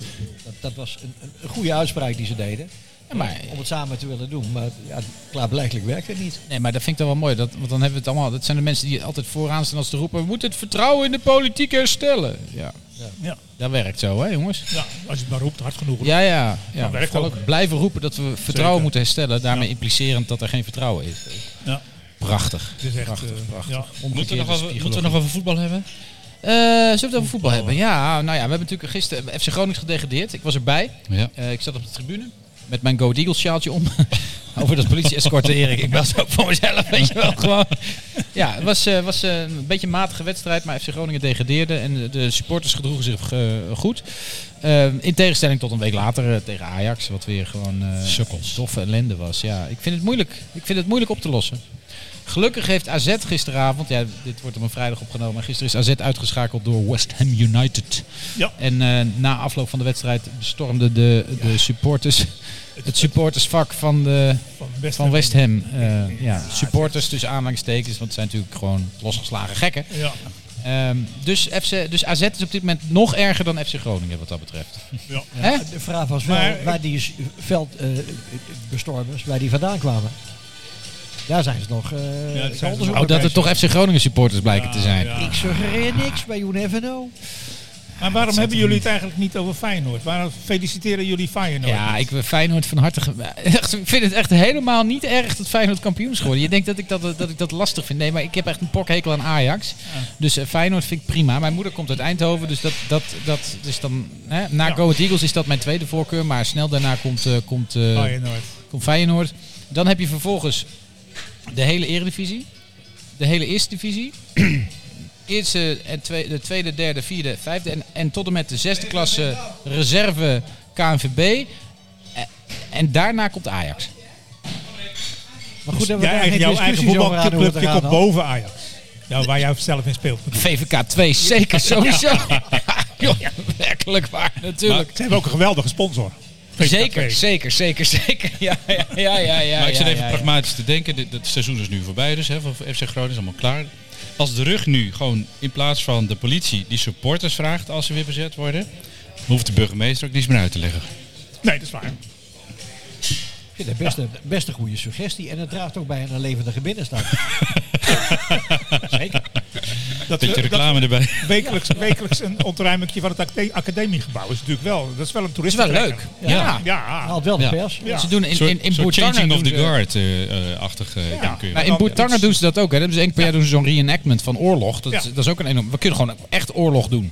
D: Dat, dat was een, een- een goede uitspraak die ze deden.
A: Ja, maar,
D: Om het samen te willen doen. Maar ja, klaarblijkelijk werkt het niet.
A: nee, maar dat vind ik dan wel mooi. Dat, want dan hebben we het allemaal. Dat zijn de mensen die altijd vooraan staan als te roepen. We moeten het vertrouwen in de politiek herstellen. Ja.
E: Ja.
A: Dat werkt zo, hè jongens?
E: Ja, als je het maar roept, hard genoeg.
A: Ja, ja. ja.
E: Dat
A: We
E: werkt
A: vooral
E: ook.
A: ook blijven roepen dat we vertrouwen
E: Zeker.
A: moeten herstellen. Daarmee implicerend dat er geen vertrouwen is.
E: Ja.
A: Prachtig.
E: Het is echt,
A: prachtig,
E: eh,
A: prachtig.
E: ja.
A: Omgekeerde
C: Moeten we, nog over, moeten we
A: psychologie.
C: nog over voetbal hebben?
A: Eh, zullen we het over voetbal hebben? Ja, nou ja, we hebben natuurlijk gisteren FC Groningen gedegradeerd. Ik was erbij.
C: Ja.
A: Eh, ik zat op de tribune met mijn Go Eagles sjaaltje om. over dat politie-escorte, Erik. Ik was ook voor mezelf, weet je wel. Gewoon. Ja, het was, eh, was eh, een beetje een matige wedstrijd, maar FC Groningen degradeerde. En de supporters gedroegen zich eh, goed. Eh, in tegenstelling tot een week later eh, tegen Ajax, wat weer gewoon eh
C: Sukkels.
A: toffe ellende was. Ja, ik vind het moeilijk. Ik vind het moeilijk op te lossen. Gelukkig heeft AZ gisteravond, ja, dit wordt op een vrijdag opgenomen, maar gisteren is AZ uitgeschakeld door West Ham United.
E: Ja.
A: En eh, na afloop van de wedstrijd bestormden de, de supporters het supportersvak van, de,
E: Van West
A: van
E: Ham.
A: West Ham.
E: Ah,
A: Eh, ja, supporters tussen aanhalingstekens, want het zijn natuurlijk gewoon losgeslagen gekken.
E: Ja,
A: Ehm, dus, FC, dus AZ is op dit moment nog erger dan FC Groningen wat dat betreft.
E: ja.
A: Hè?
D: De vraag was wel
E: Maar-
D: waar die s- veldbestormers, waar die vandaan kwamen. Daar zijn ze nog. eh,
E: Ja, dat zijn ze
D: onderzoek.
E: nog.
A: Oh, dat het toch FC Groningen supporters blijken te zijn.
E: Ja,
D: Ik
E: ja.
D: suggereer niks, maar you never know.
E: Maar waarom hebben jullie het eigenlijk niet over Feyenoord? Waarom feliciteren jullie Feyenoord?
A: Ja, ik ben Feyenoord van harte. ge- Echt, ik vind het echt helemaal niet erg dat Feyenoord kampioen is geworden. Je denkt dat ik dat, dat ik dat lastig vind. Nee, maar ik heb echt een pokhekel aan Ajax. Dus eh, Feyenoord vind ik prima. Mijn moeder komt uit Eindhoven, dus dat, dat, dat dus dan. Hè, na
E: Ja.
A: Go Ahead Eagles is dat mijn tweede voorkeur. Maar snel daarna komt, eh, komt,
E: Oh,
A: eh,
E: Feyenoord.
A: komt Feyenoord. Dan heb je vervolgens de hele Eredivisie, de hele Eerste Divisie. Eerste en twee- de tweede, derde, vierde, vijfde en, en tot en met de zesde klasse reserve KNVB. Eh, En daarna komt Ajax.
D: Maar
E: Dus
D: goed, hebben we
E: Jij
D: daar geen
E: eigen, jouw eigen
D: discussies over aan hoe het
E: voetbalclubje
D: eraan
E: komt
D: had.
E: boven Ajax. Ja, waar jij zelf in speelt.
A: VVK 2, zeker sowieso. Joh, werkelijk waar,
E: Maar
A: natuurlijk.
E: ze hebben ook een geweldige sponsor.
A: zeker, zeker, zeker, zeker. Ja, ja, ja, ja. ja
C: maar ik zit
A: ja,
C: even
A: ja, ja.
C: pragmatisch te denken. Dit, het seizoen is nu voorbij, dus hè, voor FC Groningen is allemaal klaar. Als de rug nu gewoon in plaats van de politie die supporters vraagt als ze weer bezet worden, hoeft de burgemeester ook niets meer uit te leggen.
E: Nee, dat is waar.
D: Ik vind het best een, best een goede suggestie. En het draagt ook bij aan een levendige binnenstad.
E: Dat,
C: Beetje
E: eh, dat
C: reclame erbij.
E: wekelijks, wekelijks een ontruiming van het acade- academiegebouw is natuurlijk wel. Dat is wel een
A: is
E: toerist.
A: wel leuk. Ja.
E: Ja.
D: Haalt wel de
C: Ja.
D: pers.
E: Ja.
A: Ze doen in, in,
C: Soort-
A: in
C: soort
A: Bourtangen
C: changing of
A: doen
C: the
A: ze-
C: guard eh, eh, achtig eh,
E: Ja.
C: kun je-
E: Maar
A: Nou, in
E: dan-
A: Boertanger doen ze dat ook. Hè. Dan hebben ze één keer per jaar doen ze zo'n reenactment van oorlog. Dat, is-
E: Ja.
A: dat is ook een enorm. We kunnen gewoon echt oorlog doen.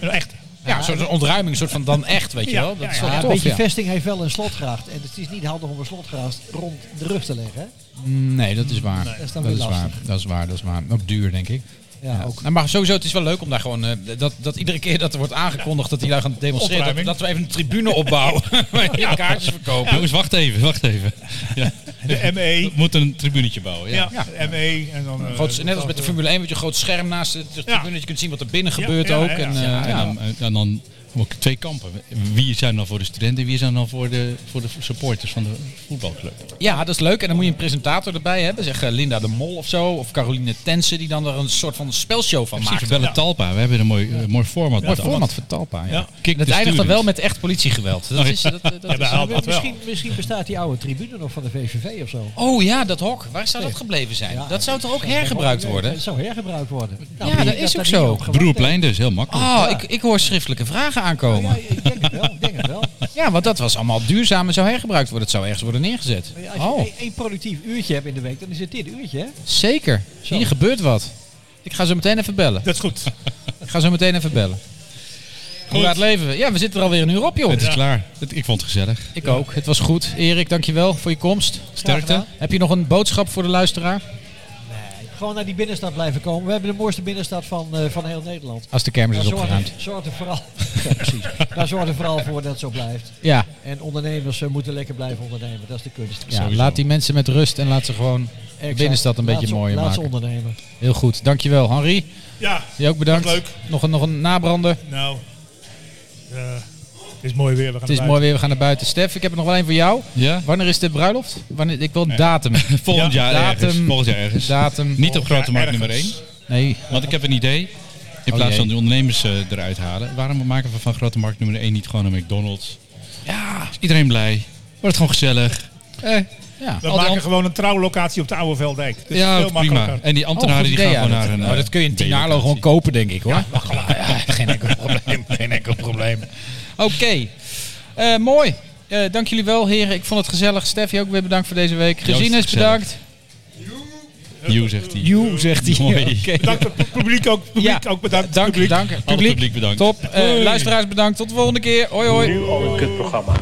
E: Een echte.
A: Ja, een soort ontruiming, een soort van dan echt, weet je
E: Ja,
A: wel. Dat is
E: ja,
A: wel
E: ja.
D: Ja, een
A: tof,
D: beetje
A: ja.
D: vesting heeft wel een slotgracht. En het is niet handig om een slotgracht rond de rug te leggen. hè?
A: Nee, dat is waar.
D: Dat is dan
A: dat, is
D: weer
A: waar.
D: lastig.
A: dat is waar, dat is waar. Ook duur, denk ik.
D: Ja, ook.
A: Nou, maar sowieso, het is wel leuk om daar gewoon... eh, dat, dat iedere keer dat er wordt aangekondigd dat die daar gaan demonstreren... Dat,
E: Opruiming.
A: dat we even een tribune opbouwen. waarin kaartjes verkopen.
C: Jongens, Dus wacht even, wacht even. Ja.
E: De
C: We
E: ME.
C: moeten een tribunetje bouwen. Ja.
E: Ja, de ME. En dan, eh,
A: Groot, net als met de Formule 1, met je groot scherm naast de tribune.
E: Ja.
A: Dat je kunt zien wat er binnen gebeurt
E: ja,
A: ook.
E: ja,
A: En, eh,
E: ja.
A: ja.
C: En dan, eh, en dan ook twee kampen. Wie zijn dan voor de studenten, wie zijn dan voor de, voor de supporters van de voetbalclub?
A: Ja, dat is leuk. En dan moet je een presentator erbij hebben. Zeg eh, Linda de Mol of zo. Of Caroline Tense, die dan er een soort van spelshow van
C: Precies,
A: maakt.
C: bellen
E: Ja.
C: Talpa. We hebben een mooi, eh, mooi format.
A: Mooi
C: met
A: format voor Talpa, ja.
E: Ja.
A: En
C: Kick Oh,
A: het
C: the
A: eindigt dan
C: students.
A: wel met echt politiegeweld. Dat is, dat, dat is
E: haalt
A: wel-
E: dat wel.
D: misschien, misschien bestaat die oude tribune nog van de VVV of zo.
A: Oh ja, dat hok. Waar zou dat gebleven zijn?
D: Ja.
A: dat zou toch ook hergebruikt worden?
D: Het zou hergebruikt worden. Nou,
A: Ja,
D: ik
A: dat
D: denk
A: is ook
D: daar
A: zo.
D: niet op gewacht
C: Broerplein dus, heel makkelijk.
A: Oh, ik, ik hoor schriftelijke vragen
D: heeft. Ja,
A: aankomen.
D: ik denk het wel. Ik denk het wel.
A: Ja, want dat was allemaal duurzaam en zou hergebruikt worden. Het zou ergens worden neergezet.
D: Maar ja, als je
A: Oh,
D: één- één productief uurtje hebt in de week, dan is het dit uurtje. hè?
A: zeker.
D: Zo.
A: Hier gebeurt wat. Ik ga zo meteen even bellen.
E: Dat is goed.
A: Ik ga zo meteen even bellen. Hoe laat leven we? Ja, we zitten er alweer een uur op, joh.
C: Het is klaar. Het, ik vond het gezellig.
A: Ik ook. Het was goed. Erik, dankjewel voor je komst.
C: Sterkte.
A: Heb je nog een boodschap voor de luisteraar?
D: Gewoon naar die binnenstad blijven komen. We hebben de mooiste binnenstad van, eh, van heel Nederland.
A: Als de kermis
D: Maar
A: Ah, is
D: zorg
A: opgeruimd.
D: er, zorg er vooral, ja, precies. Maar zorg er vooral voor dat het zo blijft.
A: Ja,
D: En ondernemers eh, moeten lekker blijven ondernemen. Dat is de kunst.
A: ja laat die mensen met rust en laat ze gewoon de
D: Exact.
A: binnenstad een
D: Laat
A: beetje
D: ze-
A: mooier
D: Laat ze
A: maken.
D: ondernemen.
A: Heel goed. Dankjewel, Henri.
E: Ja,
A: Je ook bedankt.
E: Was leuk.
A: Nog een, nog een nabrander.
E: nou. eh, het is mooi weer. We gaan
A: Het is mooi weer. We gaan naar buiten. Stef, ik heb er nog wel één voor jou.
C: Ja?
A: Wanneer is de bruiloft? Wanneer, ik wil een datum.
C: Volgend jaar
A: datum.
C: ergens. Volgend jaar ergens.
A: datum.
C: Niet op Grote Markt nummer 1.
E: ergens.
A: Nee.
C: Want ik heb een idee. In
A: Oh
C: plaats
A: jee.
C: van de ondernemers eh, eruit halen. Waarom maken we van Grote Markt nummer 1 niet gewoon een McDonald's? Ja. Is iedereen blij. Wordt gewoon gezellig. Eh,
A: Ja.
E: We
A: Al die
E: maken
A: am-
E: gewoon een trouwlocatie op de Oude Veldijk. Dat is
C: Ja,
E: veel
C: prima.
E: makkelijker.
C: En die
A: Oh,
C: ambtenaren die gaan gewoon naar een... eh,
A: Maar dat kun je in Tinalo gewoon kopen, denk ik hoor. geen enkel probleem. Geen enkel probleem. Oké. Eh, mooi. Eh, dank jullie wel, heren. Ik vond het gezellig. Steffi ook weer bedankt voor deze week. Gezien is
C: gezellig.
A: bedankt.
C: You, zegt hij.
A: You, zegt hij.
C: Mooi.
A: Oké.
E: Bedankt het publiek ook. Publiek
A: Ja.
E: ook bedankt.
A: Dank,
E: publiek.
A: dank. Publiek,
C: publiek bedankt.
A: Top. Eh, luisteraars bedankt. Tot de volgende keer. Hoi hoi.
J: Nu al een kutprogramma.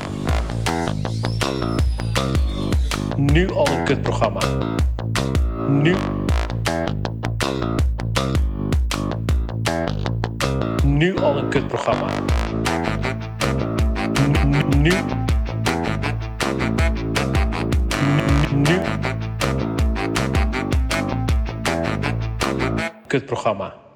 J: Nu al een kutprogramma. Nu. Nu al een kutprogramma. Nu. Nu. Nu. Kutprogramma.